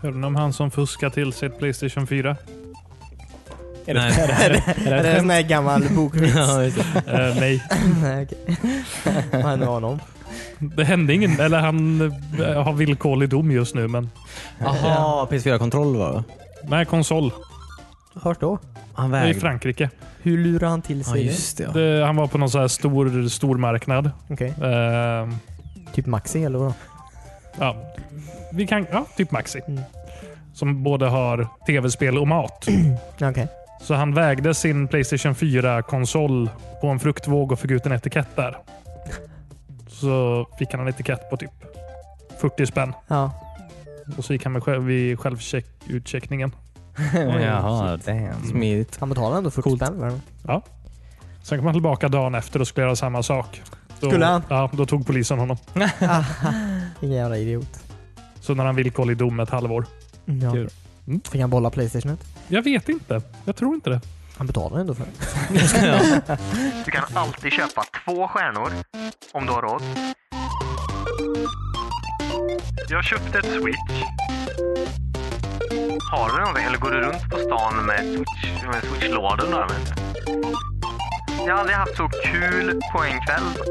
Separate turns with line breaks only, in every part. Hörde ni om han som fuskade till sitt Playstation 4?
Är
Nej.
det, är det, är det,
Är
är
det
det,
en sån här gammal bokvits?
Ja, just det.
Eh, nej,
Nej, okej. Vad hände med honom?
det hände ingen. Eller han eh, har villkorlig dom just nu, men...
Jaha, PS4-kontroll var det?
Nej, konsol.
Vart då?
Han
I
vägrade.
Frankrike.
Hur lurar han till sig
Ja, just det. Ja.
Det, han var på någon så här stor, stor marknad.
det? Okej.
Eh,
Typ Maxi eller vadå?
ja. Vi kan, ja, typ Maxi.
Mm.
Som både har tv-spel och mat.
Ja, Okej.
Så han vägde sin Playstation 4-konsol på en fruktvåg och fick ut en etikett där. Så fick han en etikett på typ 40 spänn.
Ja.
Och så gick han med själv, vid självutcheckningen.
Jaha,
damn.
Smidigt.
Han betalade ändå 40 spänn för den.
Sen kom han tillbaka dagen efter och skulle göra samma sak. Då,
Skulle han?
Ja, då tog polisen honom.
Ingen jävla idiot.
Så när han villkorlig dom ett halvår.
Ja.
Kul.
Mm.
Fick han bolla Playstationet?
Jag vet inte. Jag tror inte det.
Han betalade ändå för det.
Du kan alltid köpa två stjärnor om du har råd. Jag köpte ett Switch. Har du någon eller går du runt på stan med Switch, med Switch-lådor där? vet du? Jag har aldrig haft så kul på en kväll.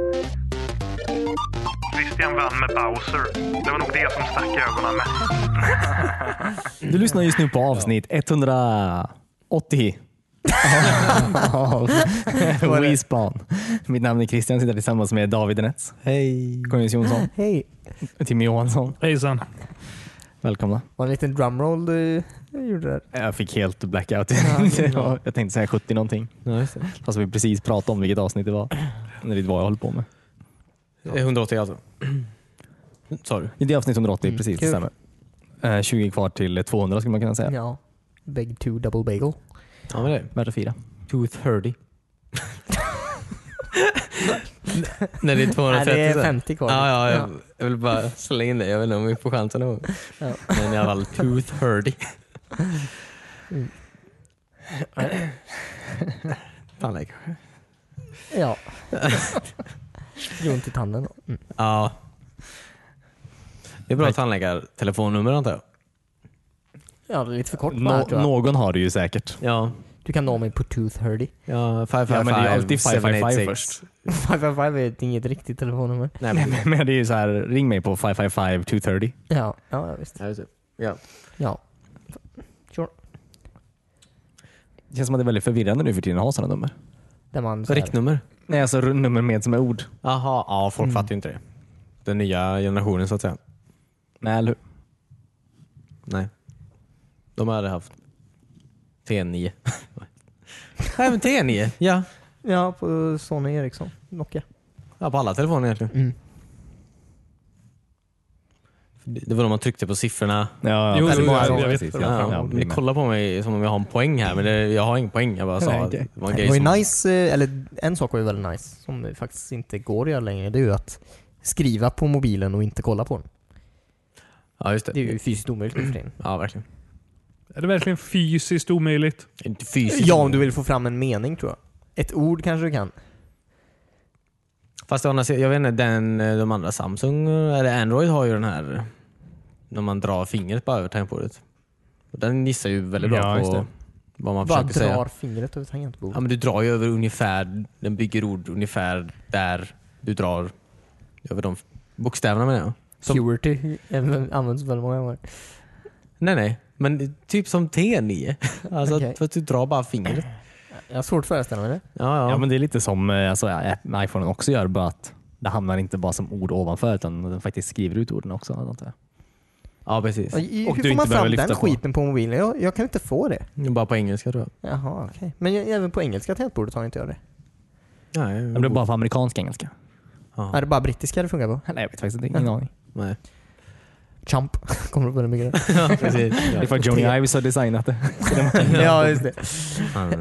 Christian vann med Bowser. Det var nog det som stack i ögonen mest.
Du lyssnar just nu på avsnitt 180. Av WeSpan. Mitt namn är Christian, sitter tillsammans med David Renetz,
Hej.
Cornelius Jonsson,
Hej.
Timmy Johansson.
Hejsan.
Välkomna.
Var det en liten drumroll du gjorde där?
Jag fick helt blackout.
Ja.
Jag tänkte säga 70 någonting.
Ja, just det.
Fast vi precis pratade om vilket avsnitt det var. Eller det var jag höll på med.
Det är 180 alltså. Sa du?
I Det är avsnitt 180,
Mm,
precis. Det
kul.
stämmer. Eh, 20 kvar till 200 skulle man kunna säga.
Ja. Big two double bagel.
Ja, men det är
Värt att fira.
230. Nej, det är 230.
Nej, det är
sen.
50 kvar.
Ja, ja, jag, jag vill bara slänga in det. Jag vet inte om vi får chansen någon gång.
Ja.
Men i alla fall 230.
Mm.
Tandläkare.
Ja. Gjorde ont i tanden. då. Mm.
Ja. Det är bra tandläkartelefonnummer antar jag.
Ja, det är lite för kort
Nå-
no, tror jag.
någon har det ju säkert.
Ja.
Du kan nå mig på 230.
Ja, five,
Ja,
five,
men det är ju
five,
alltid
seven,
555
eight,
först.
six.
555 är inget riktigt telefonnummer.
Nej,
Nej,
men,
men, men det är ju så här, ring mig på 555 230.
Ja, ja visst.
Ja, just det. Ja.
Ja. Sure.
Det känns som att det är väldigt förvirrande nu för tiden att ha sådana nummer.
Där man så här-
Riktnummer? Mm.
Nej, alltså rund- nummer med som är ord.
Jaha, ja folk fattar ju inte det. Den nya generationen så att säga.
Nej, eller hur?
Nej. De hade haft T9. Nej men T9, ja.
Ja, på Sony Ericsson. Nokia.
ja. På alla telefoner egentligen. Det det var då man tryckte på siffrorna.
Ja, Alltså,
Jo,
precis.
jo, jag-
Ja,
jag vet
precis.
det.
Ja,
Ja,
ja,
ni kollar på mig som om jag har en poäng här men det, jag har ingen poäng. Jag bara sa
Nej,
att
okej.
det var en
Det
grej
var ju
som...
nice, eh, eller en sak var ju väldigt nice, som det faktiskt inte går att göra längre. Det är ju att skriva på mobilen och inte kolla på den.
Ja just
Det är
det.
ju fysiskt omöjligt nu för tiden.
Ja verkligen.
Är det verkligen fysiskt omöjligt?
Inte fysiskt.
Ja, om du vill få fram en mening tror jag. Ett ord kanske du kan.
Fast å andra sidan, jag vet inte, den, eh, de andra Samsung eh, eller Android har ju den här när man drar fingret bara över tangentbordet. Den gissar ju väldigt bra
Ja, just
på
det.
vad man
Bara drar
försöker säga.
fingret över tangentbordet.
Ja, men du drar ju över ungefär, den bygger ord ungefär där du drar över de bokstäverna menar jag. som-
Security även- används väldigt många gånger.
Nej nej, men typ som T9. Alltså
Okej.
att, för att du drar bara fingret.
Jag har svårt att föreställa mig det.
Ja, ja.
Ja, men det är lite som eh, alltså, ja, iPhone också gör, bara att det hamnar inte bara som ord ovanför utan den faktiskt skriver ut orden också. antar jag.
ja precis.
Och, i-
Och
hur
du
får man
inte behöver
fram den
lyfta på.
skiten på mobilen? Jag, jag kan inte få det.
Bara på engelska tror jag.
Jaha, okej. Men jag, även på engelska tangentbordet har inte jag det.
Nej,
Men det är bara på amerikansk engelska?
ja.
Är det bara brittiska det funkar på?
Nej, jag vet faktiskt inte. Ingen aning.
Nej.
Chump. Kommer du på det mycket?
Ja, precis.
Det är för att Johnny Ives har designat det.
ja, just det.
Ja.
Eh,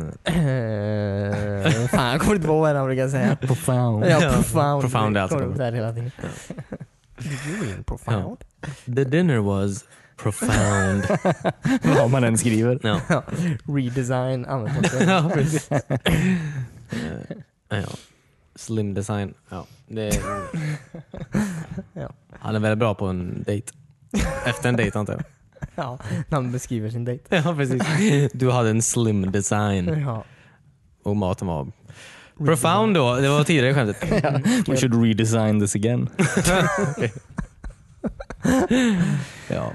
Fan, jag kommer inte ihåg vad han brukar säga.
Profound.
Ja, profound.
Profound är
det
alltså
kommer upp
bra.
där hela tiden. Did you mean profound?
The dinner was profound.
Vad man än skriver.
ja.
Redesign använder också.
ja, precis. Eh, ja. Slim design. Ja. Det
Ja.
Han är väldigt bra på en dejt. Efter en dejt antar jag.
Ja, när han beskriver sin dejt.
Ja, precis. Du hade en slim design
Ja.
och maten var profound då. Det var tidigare skämtet.
We should redesign this again.
Ja,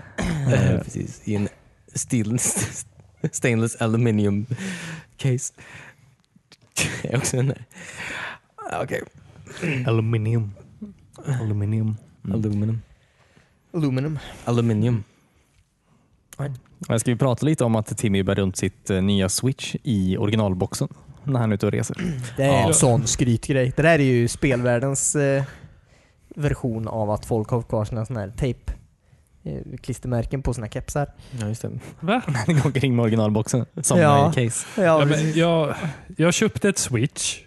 eh, precis. I en steel, stainless aluminium case. Det är också en... Okej.
Aluminium. Aluminium.
Aluminum.
Aluminum.
Aluminium.
Jag ska vi prata lite om att Timmy bär runt sitt eh, nya switch i originalboxen när han är ute och reser.
Det är
Ja.
en sån skrytgrej. Det där är ju spelvärldens eh, version av att folk har kvar sina såna här tejp eh, klistermärken på sina kepsar.
Ja, just det.
Va?
Han går omkring med originalboxen som
Ja.
ja. case.
Ja, men jag, jag köpte ett switch,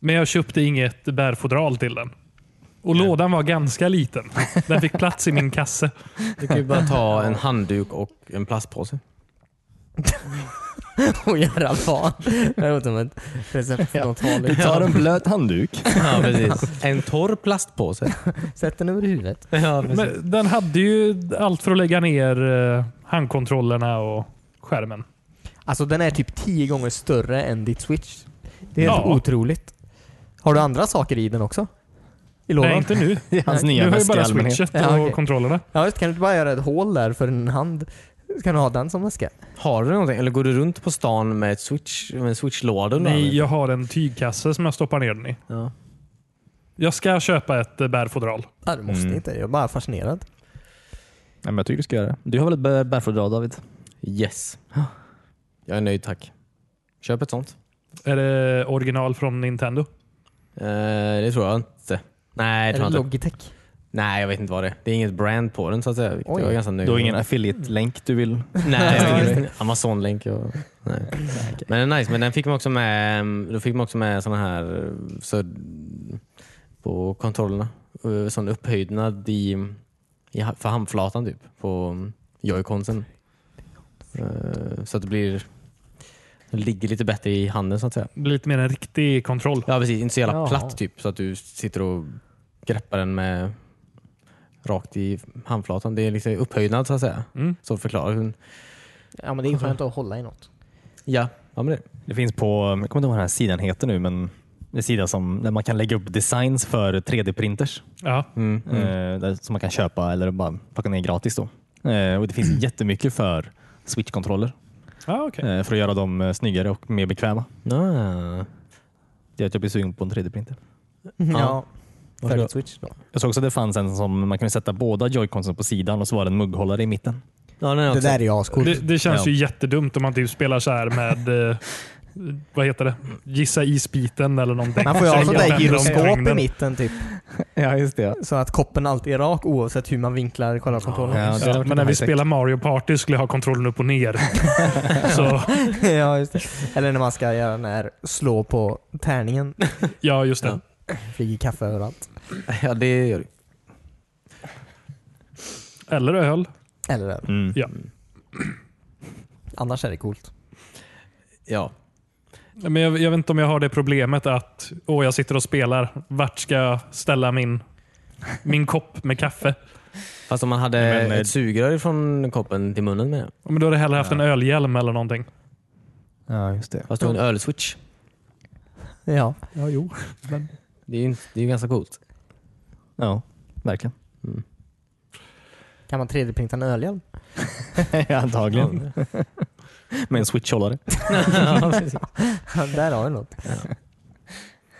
men jag köpte inget bärfodral till den. Och lådan var ganska liten. Den fick plats i min kasse.
Du kan ju bara ta en handduk och en plastpåse.
och göra vad? Det här låter som ett recept från något liksom.
Du
farligt.
tar en blöt handduk.
Ja, precis. En torr plastpåse.
Sätt den över huvudet.
Ja,
Men den hade ju allt för att lägga ner eh, handkontrollerna och skärmen.
Alltså den är typ tio gånger större än ditt switch. Det är helt
Ja.
otroligt. Har du andra saker i den också? I lådan?
Nej, inte nu.
Det är hans
Nu
nya
har ju
väska i
bara
allmänhet.
switchet och
Ja, okej.
kontrollerna.
Ja just kan du inte bara göra ett hål där för en hand? Så kan du ha den som väska?
Har du någonting? Eller går du runt på stan med, ett switch, med en switchlåda? under armen?
Nej, jag har en tygkasse som jag stoppar ner den i.
Ja.
Jag ska köpa ett eh, bärfodral.
Ja, du måste
Mm.
inte. Jag är bara fascinerad.
Nej, men jag tycker du ska göra det. Du har väl ett bär- bärfodral David?
Yes. Jag är nöjd tack. Köp ett sånt.
Är det original från Nintendo?
Eh, det tror jag inte. Nej, jag
Är
tror
det
jag inte.
Logitech?
Nej, jag vet inte vad det är. Det är inget brand på den så att säga. vilket
Oj.
Jag är ganska nöjd
Du har
med.
ingen affiliate-länk du vill?
Nej, jag har ingen Amazon-länk. Och... Nej. Men den är nice. Men den fick man också med, då fick man också med såna här eh, så, på kontrollerna. Eh, Sån upphöjdnad i, i, ha- för handflatan typ på joyconsen. Eh, Så att det blir det ligger lite bättre i handen så att säga.
Blir Lite mer en riktig kontroll.
Ja precis, inte så jävla
Jaha.
platt typ så att du sitter och greppar den med rakt i handflatan. Det är liksom upphöjdnad så att säga.
Mm.
Så förklarar hon.
Ja men det är skönt att hålla i något.
Ja, ja men det.
Det finns på, jag kommer inte ihåg vad den här sidan heter nu, men det är en sida som, där man kan lägga upp designs för 3D-printers
Ja.
Mm.
eh, där, som man kan köpa eller bara plocka ner gratis. Då. Eh, och Det finns jättemycket för switch-kontroller
Ah, okej.
eh, för att göra dem eh, snyggare och mer bekväma.
Ah.
Det gör att jag blir sugen på en 3D-printer.
Mm-hmm. Ja.
Varför
För
då?
ett switch då.
Jag såg också att det fanns en som man kunde sätta båda joyconsen på sidan och så var det en mugghållare i mitten.
Ja, alltså, den är
Det
också.
där är ju ascoolt.
Det, det känns
Ja.
ju jättedumt om man typ spelar så här med eh, vad heter det? Gissa isbiten eller någonting.
Man får ju ha
Så
sånt
jag
där
vänder omkring
gyroskop i
den.
mitten typ.
Ja, just det.
Så att koppen alltid är rak oavsett hur man vinklar själva kontrollen.
Ja, det hade
Ja,
varit
men när vi
high-tech.
spelar Mario Party skulle jag ha kontrollen upp och ner. så,
ja, just det. Eller när man ska göra den här slå på tärningen.
ja, just det.
Flyger kaffe överallt.
Ja, det gör du.
Eller öl.
Eller över.
Mm.
Ja.
Annars är det coolt.
Ja.
Men jag, jag vet inte om jag har det problemet att åh, jag sitter och spelar. Vart ska jag ställa min, min kopp med kaffe?
Fast om man hade
Men, eh,
ett sugrör från koppen till munnen med
Ja, Men då hade jag hellre haft en ölhjälm eller någonting.
ja, just det.
Fast du har en ölswitch.
Ja.
Ja, jo.
Det är ju, det är ju ganska coolt.
Ja, verkligen.
Kan man 3D-printa en ölhjälm?
Antagligen. Med en switchhållare.
ja, precis.
Där har du något.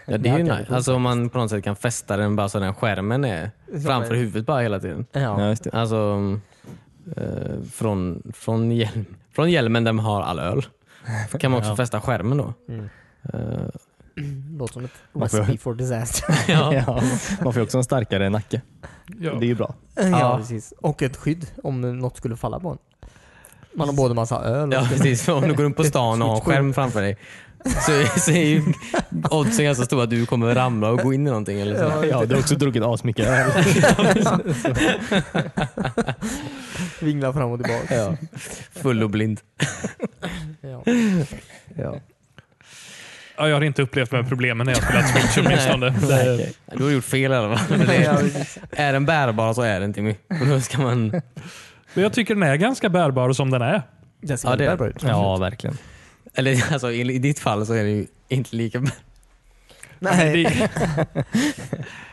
ja, det är ju nice. Alltså om man på något sätt kan fästa den bara så den skärmen är framför huvudet bara hela tiden.
Ja.
just det.
Alltså eh, från, från, hjälm, från hjälmen där man har all öl kan man också
Ja.
fästa skärmen då.
Mm.
Eh,
Låter som ett
Man får-
recipe for disaster.
ja.
Ja, man får ju också en starkare nacke.
Ja.
Det är ju bra.
ja,
Ja.
precis. Och ett skydd om något skulle falla på en. Man har både massa öl och...
Ja precis, om du går runt på stan och har en skärm framför dig så, så är ju oddsen ganska stora att du kommer ramla och gå in i någonting. Eller så.
Ja, du har också druckit asmycket öl.
Vinglar fram och tillbaka.
Ja. Full och blind.
Ja.
Ja, jag har inte upplevt de här problemen när jag spelat Switch åtminstone. Det-
Du har gjort fel i alla fall. Men det är, är den bärbar så är den Timmy. Och då ska man
Men jag tycker den är ganska bärbar som den är.
Den ser
Ja, det-
väldigt bra ut.
Ja, verkligen.
Eller alltså, i, i ditt fall så är det ju inte lika bra.
Nej.
Det,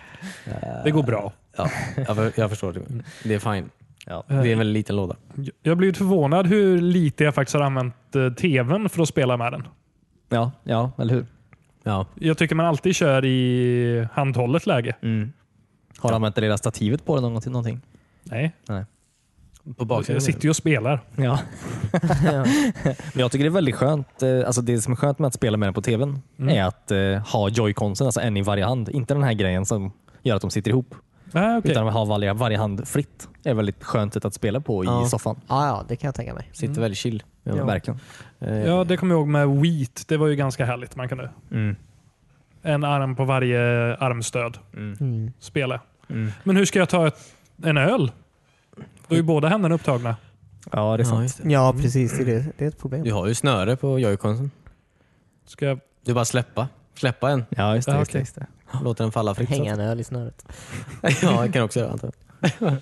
det går bra.
Ja, jag, för- jag förstår. Det, det är fine.
Ja.
Det är en väldigt liten låda.
Jag har blivit förvånad hur lite jag faktiskt har använt eh, tvn för att spela med den.
Ja, ja, eller hur?
Ja.
Jag tycker man alltid kör i handhållet läge.
Mm. Har du använt det lilla stativet på den någon- till någonting?
Nej,
På
jag
baksidan.
sitter ju och spelar.
Ja. Men jag tycker det är väldigt skönt. eh, Alltså det som är skönt med att spela med den på tvn är att eh, ha joyconsen, alltså en i varje hand. Inte den här grejen som gör att de sitter ihop.
Ah, okej.
Utan att ha varje, varje hand fritt. Det är väldigt skönt sätt att spela på
Ja.
i soffan.
Ja, ja, det kan jag tänka mig.
sitter väldigt chill. Ja.
Verkligen.
Eh,
Ja, det kommer jag ihåg med Wheat. Det var ju ganska härligt. Man kunde en arm på varje armstöd
Mm.
spela. Men hur ska jag ta ett, en öl? Då är ju båda händerna upptagna.
Ja, det är
ja,
sant.
just det.
Ja, precis. Det är, det. det är ett problem.
Du har ju snöre på joyconsen.
Ska jag,
Du bara släppa. Släppa en.
Ja, just det.
Ja,
Just det,
okej.
just det.
Låt den falla fritt. så att-
Hänga en öl i snöret.
ja, jag kan också göra
typ.
antar jag.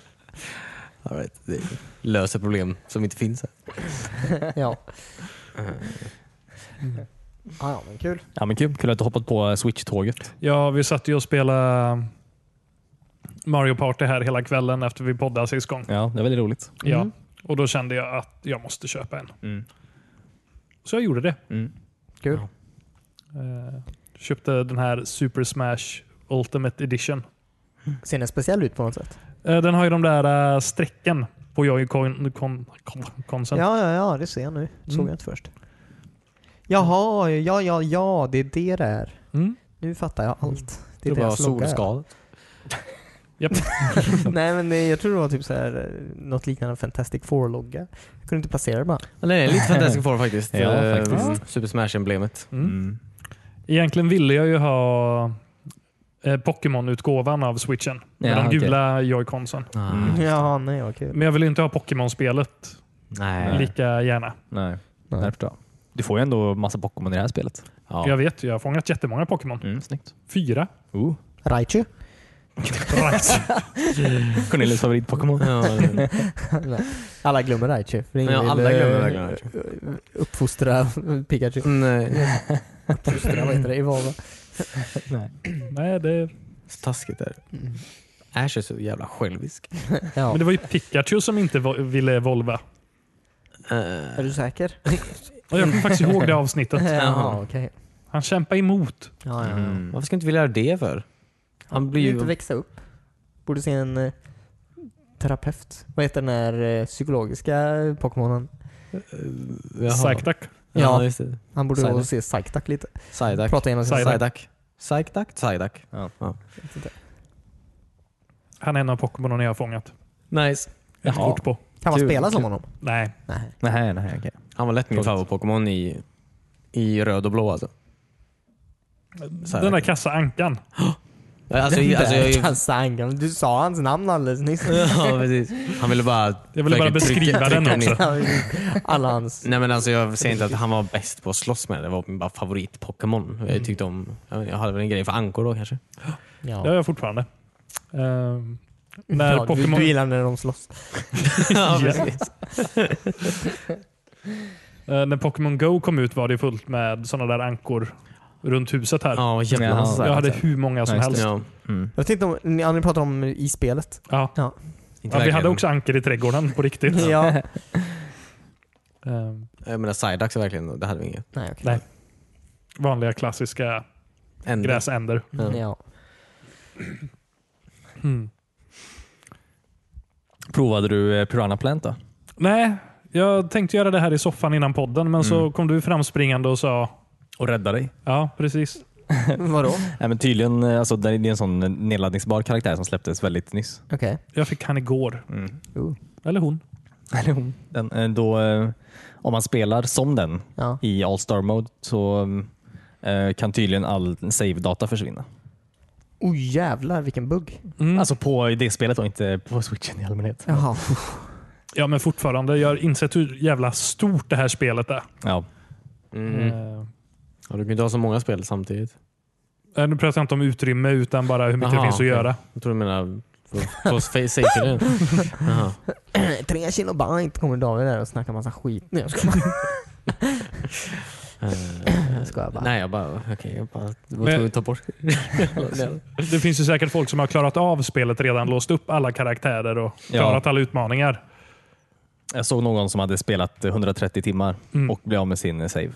All right. Det löser problem som inte finns här.
ja.
Mm.
Ah, Ja, ja, men kul.
Ja, men kul. Kul att du hoppat på eh, Switch-tåget.
ja, vi satt ju och spelade Mario Party här hela kvällen efter vi poddade sist gång.
Ja, det är väldigt roligt.
Ja. Och då kände jag att jag måste köpa en.
Mm.
Så jag gjorde det.
Kul.
Ja.
Eh, köpte den här Super Smash Ultimate Edition.
Ser den speciell ut på något sätt?
Eh, den har ju de där eh, strecken på Joy-Con kon, kon, konsen.
Ja, ja, ja, det ser jag nu. Såg
Mm.
jag inte först. Jaha, ja, ja, ja, det är det där.
Mm.
Nu fattar jag allt. Det
Mm. Det
är
var bara
deras logga.
solskadat.
Japp.
Nej, men det, jag tror det var typ så här, eh, något liknande Fantastic Four-logga. Jag kunde inte placera det bara.
Eller det är lite Fantastic Four faktiskt.
Ja,
Eh,
faktiskt.
Super Smash-emblemet.
Mm. Egentligen ville jag ju ha eh, Pokémon-utgåvan av switchen. Med
Ja,
de
okej.
gula joy-consen.
Ah,
Ja, nej, vad kul.
Men jag vill ju inte ha Pokémon-spelet
Nej.
lika gärna.
Nej, Nej. jag förstår. Du får ju ändå massa Pokémon i det här spelet.
Ja.
För Jag vet ju, jag har fångat jättemånga Pokémon.
Mm, snyggt.
Fyra.
Uh.
Raichu?
Right.
Cornelius favorit-Pokémon.
Ja, det-
Nej. Alla glömmer Raichu. För ingen
Ja,
vill,
alla
eh,
glömmer verkligen Raichu.
Uppfostra Pikachu.
Nej,
Uppfostra, vad heter det? Evolva.
Nej, det...
så taskigt är det. Mm. Ash är så jävla självisk.
Ja.
Men det var ju Pikachu som inte vo- ville evolva.
Eh,
Är du säker?
Och jag kommer faktiskt ihåg det avsnittet.
Jaha, okej.
Han kämpar emot.
Ja, ja,
Mm.
ja.
Varför ska inte vilja göra det för? Han blir
Vill inte
ju...
växa upp. Borde se en eh, terapeut. Vad heter den här eh, psykologiska Pokémonen?
Jaha.
Psychtack.
Ja,
Ja.
just det.
Han borde
Psyduck.
Psyduck. se Psyduck lite.
Psyduck.
Prata genom sin
Psyduck.
Psyduck. Psyduck? Psyduck.
Ja.
Han är en av Pokémonen jag har fångat.
Nice.
Ett
Jaha.
kort på.
Kan man
Kul,
spela som
kul.
honom?
Nej.
Nej.
Nej, nej, okej.
Han var lätt min
Tråkigt.
favorit-Pokémon i, i röd och blå alltså. Psyduck.
Den där kassa ankan.
Alltså, jag- alltså, jag,
Kassangan. Du sa hans namn alldeles nyss.
ja, precis. Han ville bara...
Jag ville bara
verkligen
beskriva
trycka- trycka
den också.
ner.
Alla hans...
Nej men alltså jag säger inte att han var bäst på att slåss med. Det var min bara favorit-Pokémon. Jag tyckte om... jag vet inte, Jag hade väl en grej för ankor då kanske.
Det har jag fortfarande. Ehm, när
Ja, du,
Pokémon...
du gillar när de slåss.
ja,
Ja. Eh, när Pokémon Go kom ut var det fullt med sådana där ankor runt huset här.
Ja, vad jävla
Ja,
massa.
jag
verkligen.
hade hur många som
Ja,
helst.
Ja,
Jag tänkte om, ni, ja, ni pratar om i spelet.
Ja.
Ja.
inte
Ja, vi hade
verkligen.
också ankor i trädgården på riktigt.
ja.
Ehm,
Jag menar Psyduck så verkligen, det hade vi inget.
Nej, okej.
Nej. vanliga
Mm.
klassiska
Ändå.
gräsänder.
Ja.
Ja.
Provade du eh, Piranha Plant då?
Nej, jag tänkte göra det här i soffan innan podden, men
Mm.
så kom du framspringande och sa
Och rädda dig?
ja, precis.
Vadå?
Nej, men tydligen, eh, alltså, det är en sån nedladdningsbar karaktär som släpptes väldigt nyss.
Okej.
Jag fick han igår.
Mm.
Oh.
Eller hon.
Eller hon. Den, eh, då, eh, om man spelar som den
Ja.
i All Star Mode så eh, kan tydligen all save-data försvinna.
Oh jävlar vilken bugg.
Mm.
Mm.
Alltså på det spelet och inte på switchen i allmänhet.
Jaha.
Ja, men fortfarande. Jag har insett hur jävla stort det här spelet är.
Ja.
Mm.
Ehm,
Ja, du kan ju inte ha så många spel samtidigt.
Eh, Nu pratar jag inte om utrymme utan bara hur mycket
Aha,
det finns att
okej.
göra.
Jag tror du menar På, på fa- safety den? Jaha.
Tre kilo bajt kommer David där och snackar massa skit. Nej jag skojar.
Eh,
Jag skojar bara.
Nej, jag bara... Okej, jag bara... Vad
Men-
tror du tar bort?
Det finns ju säkert folk som har klarat av spelet redan, låst upp alla karaktärer och
Ja.
klarat alla utmaningar.
Jag såg någon som hade spelat 130 timmar
Mm.
och blev av med sin save.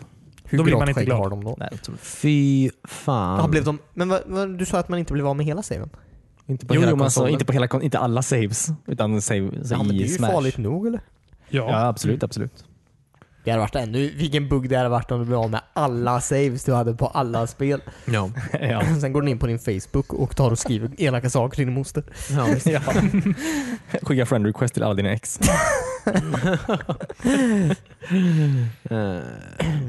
Hur
Då blir man inte
gråtskägg
glad.
har de då?
Nej, otroligt.
Fy fan.
Ja, blev de, men vad, vad, du sa att man inte blev av med hela saven?
Inte på
Jo,
hela
jo, men alltså,
konsolen.
inte, på hela, kon- inte alla saves, utan save,
Ja,
save
men det
i
är ju
Smash.
farligt nog eller?
Ja.
Ja, absolut. absolut.
Det hade varit ännu, vilken bugg det hade varit om du blev av med alla saves du hade på alla spel.
Ja.
ja.
Sen går du in på din Facebook och tar och skriver elaka saker till din moster.
ja visst.
Ja. Skicka friend request till alla dina ex.
Eh,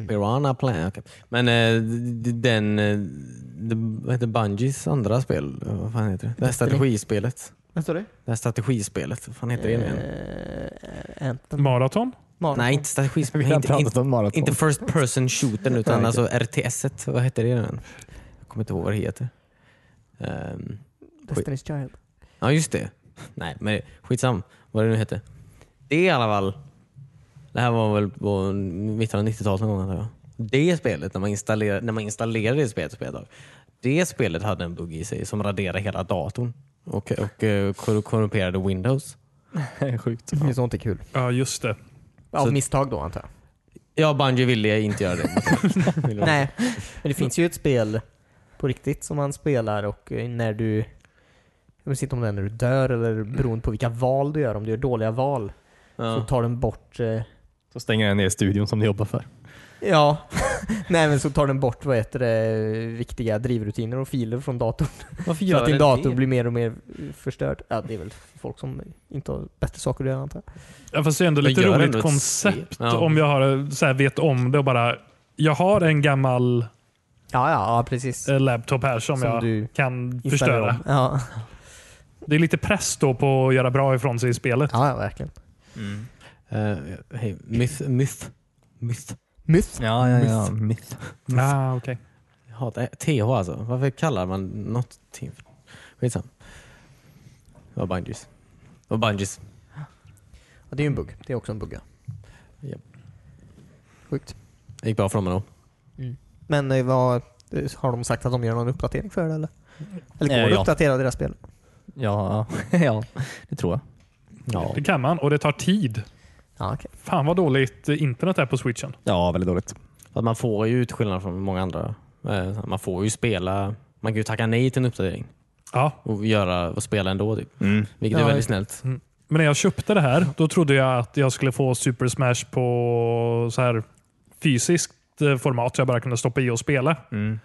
Piranha Plan. okej. Men eh, d- d- den... eh, d- Vad heter Bungies andra spel? Eh, Vad fan heter det? Det här
Destiny.
strategispelet.
Vad står det?
Det här strategispelet. Vad fan heter det igen?
Eh, Anthem.
Maraton?
Marathon.
Nej, inte strategispel.
Vi har
Inte, inte,
pratat om maraton.
inte first person shooten utan
Nej,
alltså RTS. -et. Vad heter det igen? Jag kommer inte ihåg vad det heter. Ehm,
Destiny's Child.
Ja, just det. Nej, men skitsam vad det nu hette. Det i alla fall. Det här var väl på mitten av 90-talet någon gång antar jag. Det spelet, när man installerade, när man installerade det spelet, spelet av, det spelet hade en bugg i sig som raderade hela datorn och, och eh, korru- korrumperade Windows.
Sjukt.
Det är sånt är kul.
Ja, just det.
Av
Så-
misstag då antar jag.
Ja, Bungie ville inte göra det. Ville de-
Nej, men det finns ju ett spel på riktigt som man spelar och eh, när du... Jag minns inte om det är när du dör eller beroende på vilka val du gör. Om du gör dåliga val så
Ja.
tar den bort... eh,
Så stänger den ner studion som du jobbar för.
Ja, nej men så tar den bort vad heter det, viktiga drivrutiner och filer från datorn.
Varför
Så att din dator
det?
blir mer och mer eh, förstörd. Ja, det är väl folk som inte har bättre saker att göra antar jag.
Ja, fast det är ändå
Men
lite
gör ändå
roligt
ett
koncept
spel. Ja.
om jag har, så här, vet om det och bara jag har en gammal
Ja, ja, ja precis.
eh, laptop här som,
Som
jag
du
kan
Installerar
förstöra.
om. Ja,
Det är lite press då på att göra bra ifrån sig i spelet.
ja, ja verkligen.
Eh, hej, myth, myth, myth.
Myth.
Ja, ja, ja. Myth.
Ah, okay.
Jag hatar TH alltså. Varför kallar man någonting för Skitsamma. Det var bungies. Det var bungies.
Ja, det är ju en bugg. Det är också en bugga.
Japp.
Sjukt.
Det gick bra för dem ändå.
Men eh, vad, eh, har de sagt att de gör någon uppdatering för det eller? Eller går
Eh,
det att
ja.
uppdatera deras spel?
Ja, ja, det tror jag.
Ja.
Det kan man och det tar tid.
Ja, okej.
Fan vad dåligt eh, internet är på switchen.
Ja, väldigt dåligt.
För att man får ju, till skillnad från många andra, eh, man får ju spela man kan ju tacka nej till en uppdatering
Ja.
och, göra, och spela ändå, typ.
Mm.
vilket
Ja,
är väldigt
just-
snällt.
Men när jag köpte det här, då trodde jag att jag skulle få Super Smash på så här fysiskt eh, format så jag bara kunde stoppa i och spela.
Mm.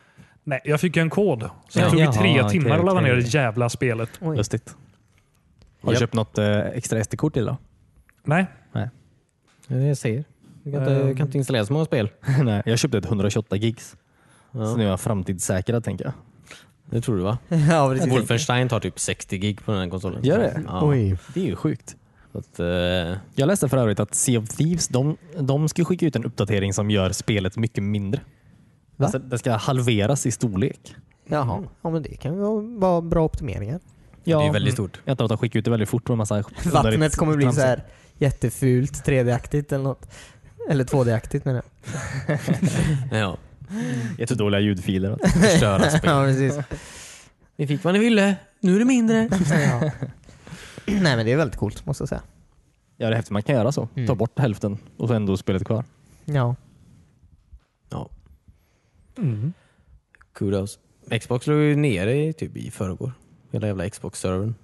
Nej, jag fick ju en kod. Så det
Ja.
tog ju tre
Jaha,
timmar
okej,
att ladda ner det
okej.
jävla spelet.
Oj.
Lustigt. Har du
Japp.
köpt något eh, extra SD-kort till då?
Nej,
Det är det jag säger. Du kan inte,
Ehm.
du kan inte installera så många spel.
Nej, jag köpte ett 128 gigs. Så nu
Ja,
är jag framtidssäkrad tänker jag.
det tror du va?
ja, precis.
Wolfenstein tar typ 60 gig på den här konsolen.
Gör det?
Ja.
Oj.
Det är ju sjukt.
Så att, eh,
Jag läste för övrigt att Sea of Thieves de, de ska skicka ut en uppdatering som gör spelet mycket mindre.
Va?
Alltså, det ska halveras i storlek.
Jaha, ja men det kan ju vara- vara bra optimeringar.
det är ju väldigt stort.
Jag tror att de skickar ut det väldigt fort med massa
Vattnet kommer bli så
tramsigt.
här jättefult, 3D-aktigt eller något. Eller 2D-aktigt menar jag.
Ja,
Jättedåliga ljudfiler.
förstöra spel.
ja, precis.
Ni fick vad ni ville, nu är det mindre.
Ja. Nej men det är väldigt coolt måste jag säga.
Ja, det är häftigt. Man kan göra så.
Mm.
Ta bort hälften och så ändå spelet kvar.
Ja.
Ja,
Mm.
kudos. Xbox låg ju nere i, typ i förrgår. Hela jävla Xbox-servern.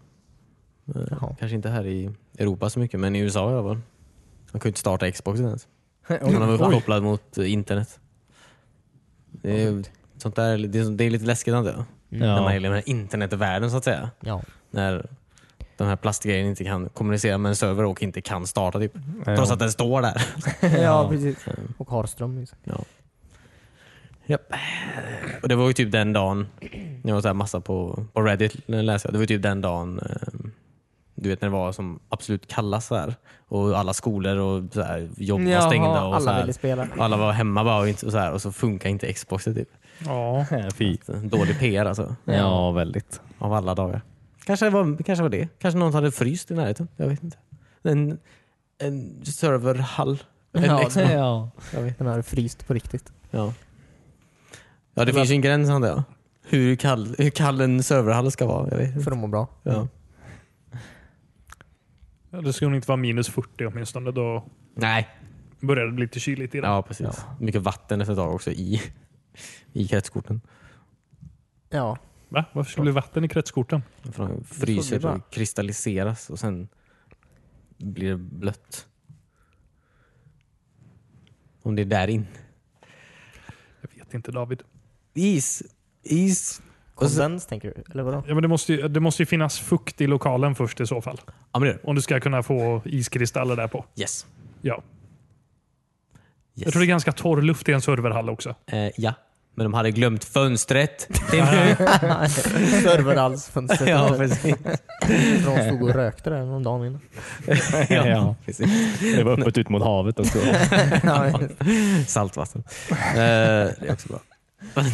Eh,
Jaha.
Kanske inte här i Europa så mycket, men i USA i alla fall. Man kunde inte starta Xboxen ens. Den var uppkopplad mot eh, internet. Det är, sånt där, det, är, det är lite läskigt antar jag.
Mm.
När man är i den här internetvärlden så att säga.
ja.
När de här plastgrejerna inte kan kommunicera med en server och inte kan starta typ. Trots att den står där.
Ja precis. Och Harström. Liksom.
Japp. Och det var ju typ den dagen, jag var så här massa på, på Reddit när jag läste, det var ju typ den dagen eh, du vet när det var som absolut kallast så här och alla skolor och så här, jobb var stängda och så
alla
här.
ville spela.
alla var hemma bara och, inte, och, så här, och så funkar inte Xboxet. Typ.
Ja.
Fy.
Dålig PR alltså,
Ja, väldigt.
av alla dagar. Kanske var, kanske var det. Kanske någon hade fryst i närheten. Jag vet inte. En, en serverhall. En
Ja,
Xbox.
det-
Ja.
Jag vet.
Den har fryst på riktigt.
Ja. ja, det finns ju en gräns antar jag. Hur kall, hur kall en serverhall ska vara. Jag vet.
För att må bra.
Ja.
Ja, Det skulle nog inte vara minus 40 åtminstone. Då
Nej.
börjar det bli lite kyligt i den.
Ja, precis. Mycket vatten efter ett tag också i, i kretskorten.
Ja.
Va? Varför skulle det bli vatten i kretskorten?
För de
det
fryser
bara.
och kristalliseras och sen blir det blött. Om det är där in.
Jag vet inte David.
Is. Is. Och sen,
Kondens tänker du? Eller vadå?
Ja, men det, måste ju, det måste ju finnas fukt i lokalen först i så fall.
ja, men det gör det.
Om du ska kunna få iskristaller där på.
Yes.
Ja.
yes.
Jag tror det är ganska torr luft i en serverhall också.
eh, ja, men de hade glömt fönstret.
Serverhalsfönstret.
ja,
ja,
precis.
de stod och rökte där någon dag innan.
Ja.
precis.
Det var öppet ut mot havet också.
Saltvatten. Eh, det är också bra. Jag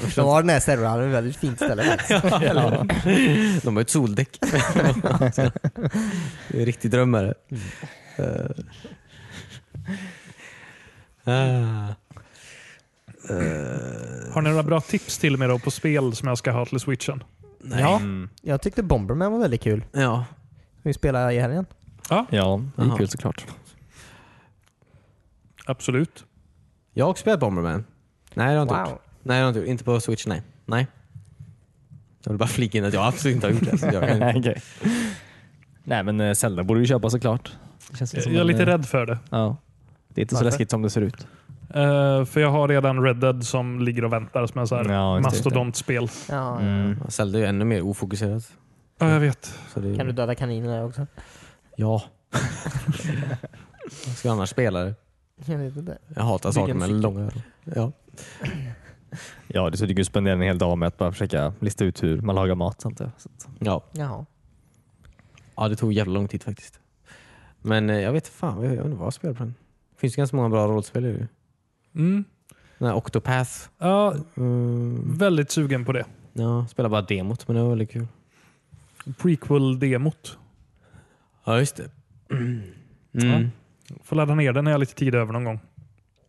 Då
förstår
var den här serverhallen ett väldigt fint ställe faktiskt.
inte. De har ett soldäck. det är en riktig drömmare. Eh. Ah. Eh,
Har ni några bra tips till mig då på spel som jag ska ha till switchen?
nej.
Ja.
Mm.
Jag tyckte Bomberman var väldigt kul.
ja.
Vi spelade i helgen.
Ja, det är
Aha.
kul såklart.
Absolut.
Jag har också spelat Bomberman. Nej, det har jag inte gjort.
Wow.
Nej, det har jag inte gjort. Inte på Switch, nej. Nej. Jag vill bara flika in att jag absolut inte har gjort det. Så jag kan inte.
Okej. Nej men eh, Zelda borde du köpa såklart. Det känns
Jag
som
jag är
en,
lite
eh,
rädd för det.
Ja. Det är inte så
Varför?
läskigt som det ser ut.
Eh, för jag har redan Red Dead som ligger och väntar som är så här
Ja, just det.
mastodontspel.
Ja,
Mm.
Zelda är ju ännu mer ofokuserat.
Ja, jag vet.
Så det är...
Kan du döda kaniner där också?
Ja. Vad ska jag annars spela det?
Jag vet inte.
Jag hatar saker
Vilken
med
cykel?
långa öron. Ja.
Ja, dessutom kan du spendera en hel dag med att bara försöka lista ut hur man lagar mat. Sånt där. Så att-
Ja.
Jaha.
ja, det tog jävla lång tid faktiskt. Men eh, jag vet fan, jag jag vet inte vad jag spelar på den. Det finns ju ganska många bra rollspel ju.
Mm.
Den här Octopath.
Ja,
Mm.
väldigt sugen på det.
Ja, jag spelade bara demot men det var väldigt kul.
Prequel-demot.
Ja, just det. Mm.
Får ladda ner den när jag har lite tid över någon gång.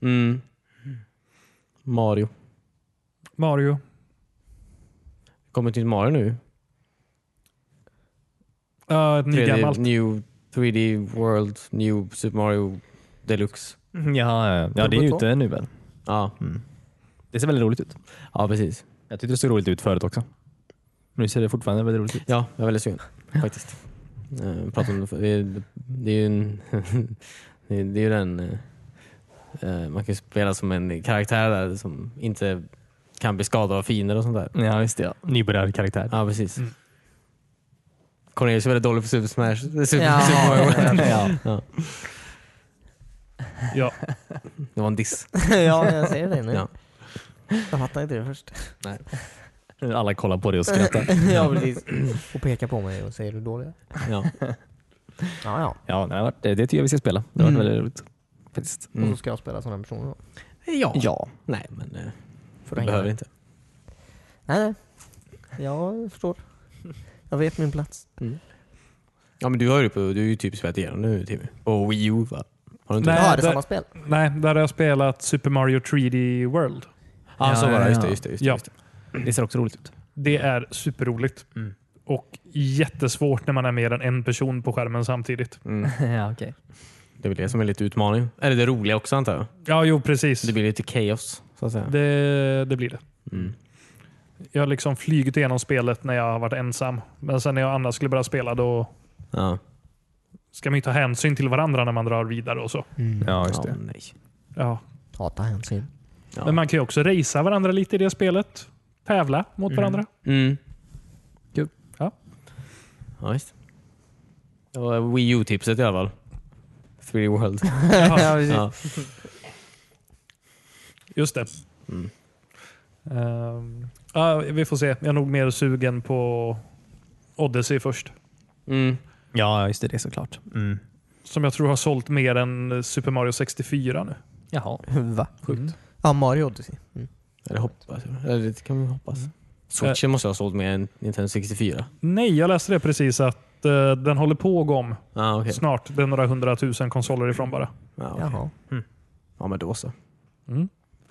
Mm. Mario.
Mario.
Det kommer ett nytt Mario nu.
Ja, ett
3D,
nygammalt.
new 3D World, New Super Mario Deluxe.
Mm, Ja, eh, ja, ja, det är ju ute nu väl. Mm.
Ja,
Det ser väldigt roligt ut.
ja precis.
Jag tyckte det såg roligt ut förut också. Nu ser det fortfarande väldigt roligt ut.
Ja, jag är väldigt sugen faktiskt. Eh, Prata om det, för- det, är- det är ju en, det, är- det är ju den, eh, man kan ju spela som en karaktär där som inte kan bli skadad av fiender och sånt där.
Ja, visst ja. Nybörjarkaraktär.
Ja, precis.
Mm.
Cornelius är väldigt dålig på Super Smash. Super,
Ja.
Super Mario World.
ja.
Ja.
Det var en diss.
ja, jag ser det nu.
Ja.
Jag fattar inte det först.
Alla kollar på dig och skrattar.
ja, precis. Och pekar på mig och säger du dålig?
Ja.
Ja, ja.
Ja, nej, det har varit- det tycker jag vi ska spela. Det har varit
Mm.
väldigt roligt. Faktiskt.
Och
Mm.
så ska jag spela sådana personer då.
ja.
Ja.
Nej, men eh,
För att
det
hänga
behöver
med.
inte.
Nej, nej. Jag förstår. Jag vet min plats.
Ja, men du har ju, på, du har ju typ spelat igenom nu Timmy. Och Wii U va? Har du inte
Nej,
Ja, är det
det-
samma spel?
Nej, där har jag spelat Super Mario 3D World.
Ja, så
Ja,
var
ja,
det. Just
ja.
det. Just det, just det,
Ja.
just det.
Det ser också roligt ut.
Det är superroligt.
Mm.
Och jättesvårt när man är mer än en person på skärmen samtidigt.
Mm.
ja, okej.
Det är väl det som är lite utmaning. Eller det roliga också antar jag.
Ja, jo precis.
Det blir lite kaos så att säga.
Det, det blir det.
Mm.
Jag har liksom flugit igenom spelet när jag har varit ensam. Men sen när jag och Anna skulle börja spela då
Ja.
ska man ju ta hänsyn till varandra när man drar vidare och så.
Ja, just
ja,
det.
nej.
Ja.
Hata hänsyn.
Ja.
Men man kan ju också racea varandra lite i det spelet. Tävla mot varandra.
Mm.
Kul.
Ja.
Ja, just det. Det var Wii U-tipset i alla fall. 3D World.
ja, precis.
Ja.
Just det.
Mm.
Ehm, ja, vi får se. Jag är nog mer sugen på Odyssey först.
Mm.
Ja, just det. Det är såklart. Mm. Som
Som jag tror har sålt mer än Super Mario 64 nu.
Jaha.
Va?
Sjukt.
Ja, Mario Odyssey. Mm.
Eller hoppas jag. Eller det kan vi hoppas. Mm. Switchen måste ha sålt mer än Nintendo 64.
Nej, jag läste det precis att eh, den håller på att gå om
Ah, okej.
snart. Det är några hundratusen konsoler ifrån bara.
Ah, okej.
Jaha.
Ja, men då så.
Mm.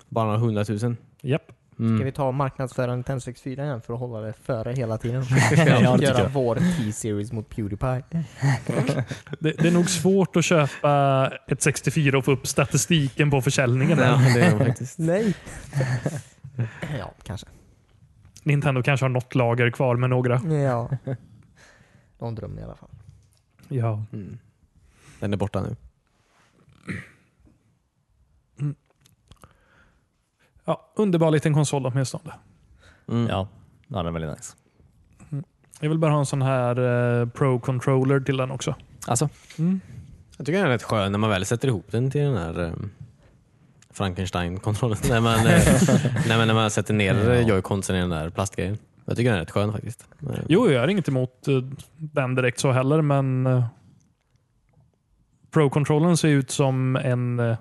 Bara några hundratusen.
Japp.
Ska
Mm.
vi ta och marknadsföra Nintendo 64 igen för att hålla det före hela tiden?
Ja, det tycker
Göra
jag.
vår T-series mot Pewdiepie.
Det, det är nog svårt att köpa ett 64 och få upp statistiken på försäljningen.
Ja,
där.
det är de faktiskt.
Nej! ja, kanske.
Nintendo kanske har något lager kvar med några.
Ja. Någon dröm i alla fall.
Ja.
Mm. Den är borta nu.
Ja, underbar liten konsol åtminstone.
Mm.
Ja, ja den är väldigt nice.
Jag vill bara ha en sån här eh, Pro-controller till den också.
Alltså,
Jag tycker den är rätt skön när man väl sätter ihop den till den här eh, Frankenstein-kontrollen. när, man, eh, nej, men när man sätter ner eh, joyconsen i den där plastgrejen. Jag tycker den är rätt skön faktiskt. Eh, Men-
Jo, jag är inget emot eh, den direkt så heller, men eh, Pro-controllen ser ut som en eh,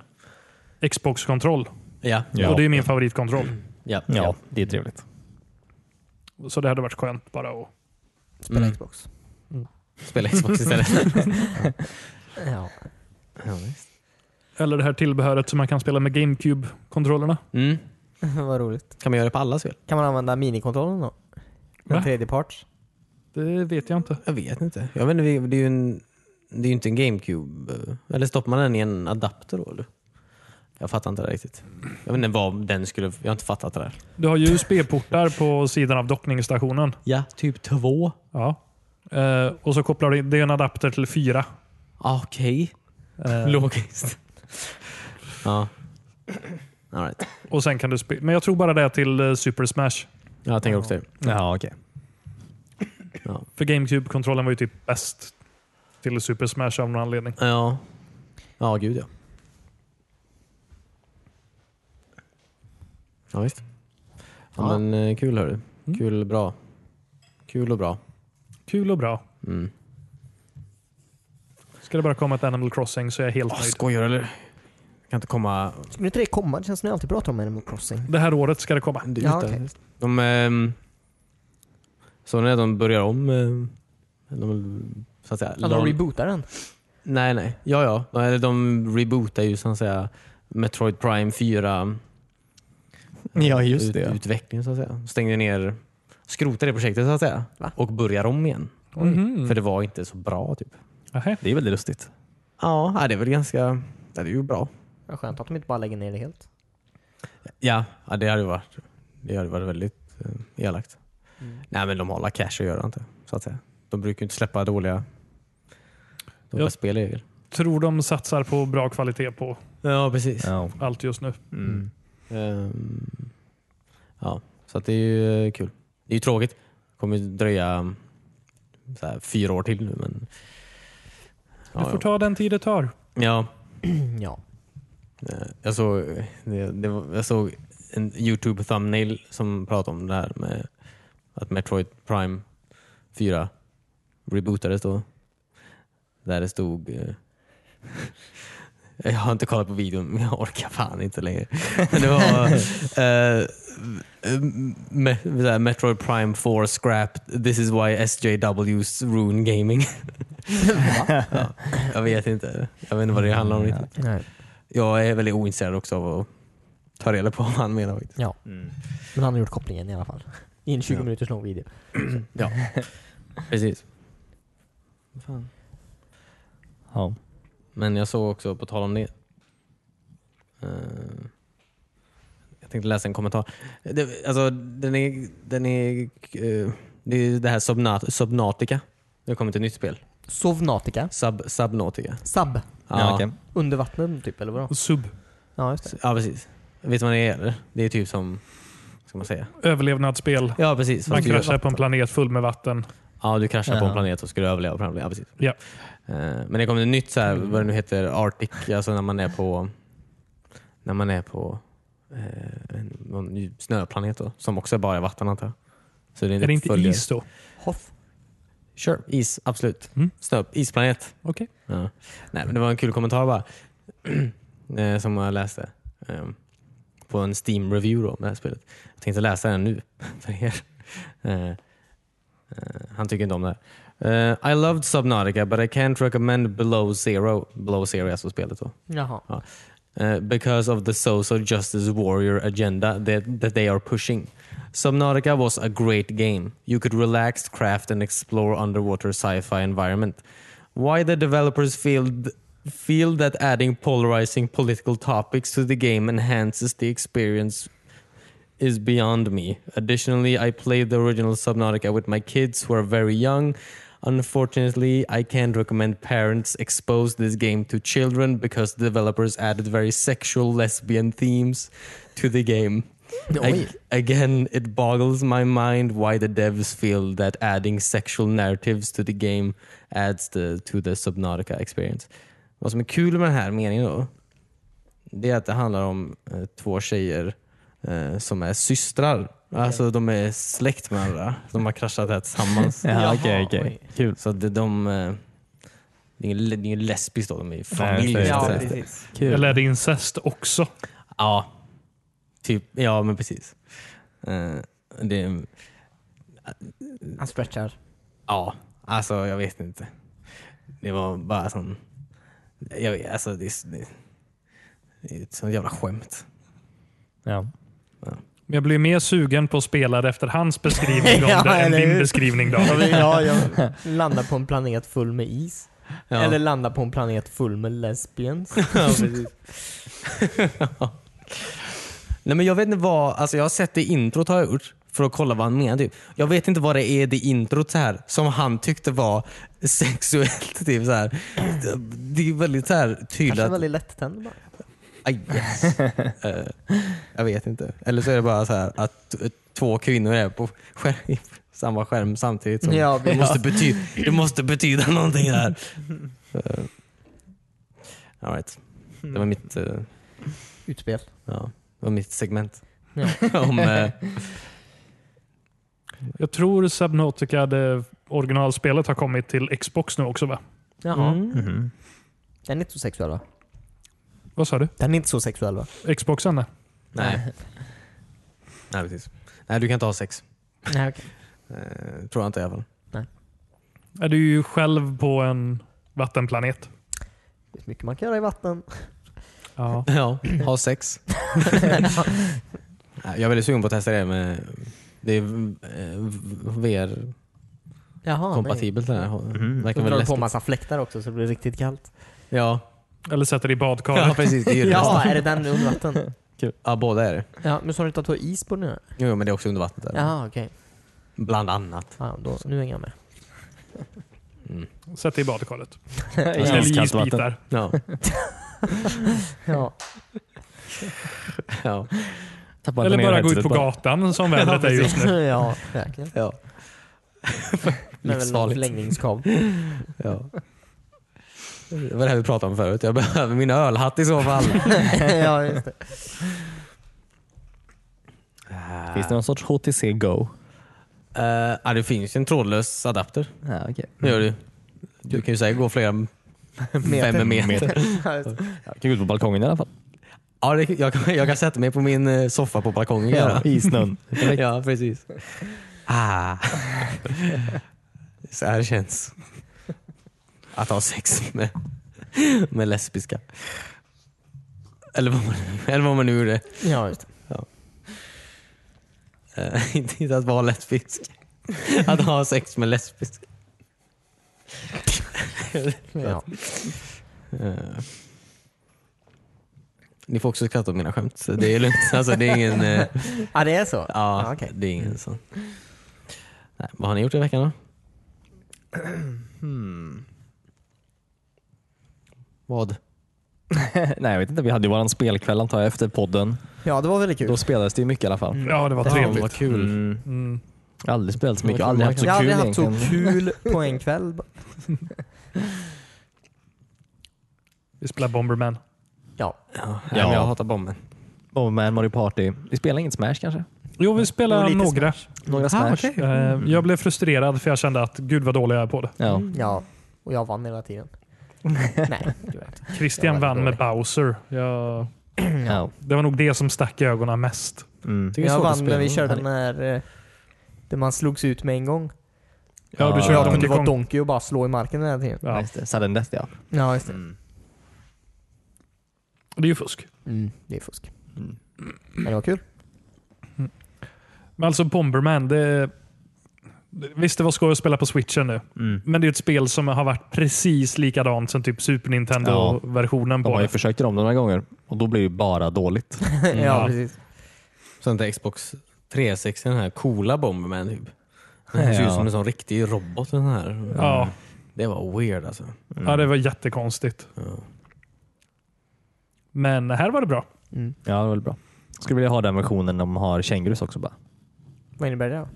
Xbox-kontroll.
Ja.
Ja.
Och det är min favoritkontroll.
Ja.
ja,
ja.
det är trevligt.
Så det hade varit skönt bara att...
Spela
Mm.
Xbox.
Spela Xbox istället.
Ja.
ja, visst.
Eller det här tillbehöret som man kan spela med GameCube-kontrollerna.
mm.
Vad roligt.
Kan man göra det på alla spel?
Kan man använda minikontrollen då?
Va?
En tredjeparts?
Det vet jag inte.
Jag vet inte. Jag vet inte det är ju en, det är ju inte en GameCube. eh, Eller stoppar man den i en adapter då? Eller? Jag fattar inte det riktigt. Jag vet inte vad den skulle... Jag har inte fattat det där.
Du har ju USB-portar på sidan av dockningsstationen.
Ja, typ två.
Ja. Eh, och så kopplar du in, det är en adapter till fyra.
Ah, Okej.
Eh,
Logiskt. ja. All right.
och sen kan du spe- Men jag tror bara det är till eh, Super Smash.
Ja, Jag tänker också det.
Ja, okej.
För GameCube-kontrollen var ju typ bäst till Super Smash av någon anledning.
Ja. Ja, gud ja. Ja, visst. Ja,
Ja.
Men eh, kul hörru. Kul bra. Kul och bra.
Kul och bra.
Mm.
Ska det bara komma ett Animal Crossing så är jag helt nöjd.
skojar eller? Jag kan inte komma
Skulle inte det komma? Det känns som ni alltid pratar om Animal Crossing.
Det här året ska det komma.
dit.
Ja,
där.
okej.
De... ehm, så när de börjar om... ehm, de, så att säga,
Ja,
lam-
de rebootar den.
Nej, nej. Ja, ja. De- Eller de rebootar ju så att säga Metroid Prime 4
Ja, just
ut-
det.
utvecklingen så att säga. Stängde ner, skrotade det projektet så att säga
Va?
och börjar om igen.
Mhm.
Mm. För det var inte så bra typ.
Nähä.
Det är väldigt lustigt.
Ja, ja, det är väl ganska... Ja, det är ju bra.
Vad skönt att de inte bara lägger ner det helt.
Ja, ja det hade ju varit, det hade varit väldigt eh, elakt. Nej, men de har alla cash att göra inte, så att säga. De brukar ju inte släppa dåliga, dåliga
Ja.
spel i regel.
Tror de satsar på bra kvalitet på
Ja, precis.
Ja.
allt just nu.
Mm.
Ehm, ja, så att det är ju eh, kul. Det är ju tråkigt. Det kommer ju dröja mm, så här, fyra år till nu. Men,
Du
Ja,
får
ja.
ta den tid det tar.
Ja,
Ja.
eh, jag såg, det, det, var- jag såg en YouTube thumbnail som pratade om det här med att Metroid Prime 4 rebootades då. Där det stod eh, jag har inte kollat på videon, men jag orkar fan inte längre. Men det var eh, Me- det där Metroid Prime 4 Scrap, this is why SJW's Rune Gaming. ja, jag vet inte. Jag vet inte vad det handlar om riktigt.
Nej.
Jag är väldigt ointresserad också av att ta reda på vad han menar faktiskt.
ja. Men han har gjort kopplingen i alla fall. I en 20
Ja.
minuters lång video.
Ja, precis.
Ja.
Men jag såg också, på tal om det. eh, jag tänkte läsa en kommentar. Det, alltså, den är, den är, eh, det är det här Subnat- Subnautica. Det har kommit ett nytt spel.
Sovnatica.
Sub, Subnautica.
Sub.
Ja, okej.
Under vattnet typ, eller vadå?
Sub.
Ja, just det.
Ja, precis. Vet du vad det är? eller? Det är typ som... Vad ska man säga?
Överlevnadsspel.
Ja, precis.
Man
Fast du,
kraschar på en planet full med vatten.
ja, du kraschar på en
Ja.
planet och ska du överleva. på den här- Ja, precis.
Ja.
Eh, Men det kommer ett nytt, så här, vad det nu heter, Arctic, alltså när man är på när man är på eh, en, någon ny snöplanet då, som också bara är vatten antar jag. Så det är, en
Är det inte
uppföljare.
is då?
Hoff.
Sure, is, absolut.
Mm.
Snö, isplanet.
Okej.
Ja. Nej, men det var en kul kommentar bara. eh, som jag läste. ehm, på en Steam-review då, om det här spelet. Jag tänkte läsa den nu för er. Eh, eh, han tycker inte om det här. Eh, I loved Subnautica but I can't recommend Below Zero. Below Zero är alltså spelet då.
Jaha.
Uh, because of the social justice warrior agenda that, that they are pushing. Subnautica was a great game. You could relax, craft, and explore underwater sci-fi environment. Why the developers feel feel that adding polarizing political topics to the game enhances the experience is beyond me. Additionally, I played the original Subnautica with my kids who are very young. Unfortunately, I can't recommend parents expose this game to children because developers added very sexual lesbian themes to the game. I, again, it boggles my mind why the devs feel that adding sexual narratives to the game adds the, to the Subnautica experience. Vad som är kul med den här meningen då, det är att det handlar om eh, två tjejer eh, som är systrar. Alltså de är släkt med varandra. De har kraschat här tillsammans.
Ja,
Jaha,
okej, okej.
oj.
Kul.
Så att de, de, eh, det är ingen- det är ingen lesbiskt då, de är ju familj.
Nej,
Ja,
så att säga.
precis.
Kul.
Eller är det incest också?
ja, typ, ja men precis. Eh, det, är-
Han stretchar.
ja, alltså jag vet inte. Det var bara sån... Jag vet, alltså det, är- det, det är ett sånt jävla skämt.
Ja.
Men Jag blir mer sugen på att spela det efter hans beskrivning om
Ja,
det än
eller
din
hur?
beskrivning David.
Ja, jag landar på en planet full med is.
Ja.
Eller landar på en planet full med lesbians.
Ja, precis. Nej, men jag vet inte vad, alltså jag har sett det i introt har jag gjort för att kolla vad han menar. Typ. Jag vet inte vad det är i det introt så här, som han tyckte var sexuellt. Typ, så här. Det- Det är väldigt så här, tydligt.
Kanske
att-
väldigt lättänd bara.
Aj, Ah, yes. Eh, jag vet inte. Eller så är det bara så här att t- två kvinnor är på skärm, samma skärm samtidigt. Som,
Mm. Ja,
det,
ja.
måste bety- det måste betyda någonting där. Uh, all right. Det var mitt, eh,
Utspel.
ja, det var mitt segment.
Ja.
Om, eh,
Jag tror Subnautica, det originalspelet, har kommit till Xbox nu också va?
Jaha.
Mhm.
Den är inte så sexuell va?
Vad sa du?
Den är inte så sexuell va?
Xboxen? nej.
nej. nej, precis. Nej, du kan inte ha sex.
Nej, okej.
Eh, tror jag inte i alla fall.
Är du ju själv på en vattenplanet?
Det är mycket man kan göra i vatten.
Ja.
Ja, ha sex. Nej, jag är väldigt sugen på att testa det med det är eh, VR
Jaha,
kompatibelt det där.
Mhm.
Så
Verkar
drar
väl
du på
läskigt.
massa fläktar också så det blir riktigt kallt.
Ja.
Eller sätter dig i badkaret?
ja, precis. Det är ju det
Ja,
bästa.
är det den under vatten?
ja, båda är det.
Ja, men sa du inte att du har is på nu?
Jo, jo, men det är också under vattnet där.
Ja, okej.
Bland annat.
Ja, då, nu hänger jag med.
Sätt dig i badkaret. Eller
Iskallt vatten.
isbitar.
Ja.
Ja,
ja.
Tappade
Eller
ner
bara gå ut
headsetet
på gatan som vädret är just nu.
ja verkligen.
ja.
Men väl någon
Livsfarligt.
förlängningskabel.
ja. Det var det här vi pratade om förut. Jag behöver min ölhatt i så fall.
ja, just det.
Finns det någon sorts HTC Go?
Eh, ja, det finns ju en trådlös adapter.
Ja, okej.
Det gör det ju. Du kan ju säkert gå flera fem meter.
Ja, just det.
Jag kan gå ut på balkongen i alla fall.
Ja, det, jag, kan- jag kan sätta mig på min eh, soffa på balkongen. Ja,
I snön.
ja precis. Ah. Så här känns. Att ha sex med, med lesbiska. Eller vad man, eller vad man nu gjorde.
Ja, just det.
Eh, inte inte att vara lesbisk. Att ha sex med lesbisk.
Ja.
Eh. Ni får också skratta åt mina skämt. så Det är lugnt. Alltså, det är ingen... eh,
ja, det är så?
Ja,
Ah, okej.
det är ingen sån. Nej, vad har ni gjort i veckan då? Vad?
Nej, jag vet inte. Vi hade ju våran spelkväll antar jag efter podden.
Ja, det var väldigt kul.
Då spelades det ju mycket i alla fall.
Ja, det var
Ja,
Vad
trevligt.
kul.
Mm.
Mm.
Aldrig spelat så mycket och
Jag
aldrig haft så
Jag har
kul
aldrig haft så
egentligen.
kul på en kväll.
Vi spelar Bomberman.
Ja,
Ja,
Ja.
men Jag hatar bomben.
Bomberman, Mario Party. Vi spelade inget Smash kanske?
Jo, vi
Och
spelar
lite
några.
Några Smash?
Eh, Jag blev frustrerad för jag kände att gud vad dålig jag är på det.
Ja.
ja. Och jag vann hela tiden. Nej, det var inte. Jag
Christian
var
vann
dålig.
med Bowser. Jag,
ja.
det var nog det som stack i ögonen mest.
Mm.
Tycker det är
jag
svårt att
vann när
spela.
vi körde den här eh, Där man slogs ut med en gång.
Ja, du
Så
kör
jag kunde
Donkey
vara
Kong.
Donkey och bara slå i marken hela tiden.
Ja.
Just det. Sudden death ja.
Ja, just det.
Det är ju fusk.
Mm, det är fusk. Men det var kul.
Men alltså Bomberman, det... Visst det var skoj att spela på switchen nu, men det är ett spel som har varit precis likadant som typ Super Nintendo-versionen
De
på
har ju
det.
försökt göra om det några gånger och då blir det ju bara dåligt.
ja, precis.
Sånt där Xbox 360, den här coola Bomberman typ. Den här ser ut
Ja.
som en sån riktig robot. Den här. Mm.
Ja.
Det var weird alltså.
ja, det var jättekonstigt. Men här var det bra.
Ja, det var väl bra. Skulle vilja ha den versionen de har kängurus också bara.
Vad innebär det då?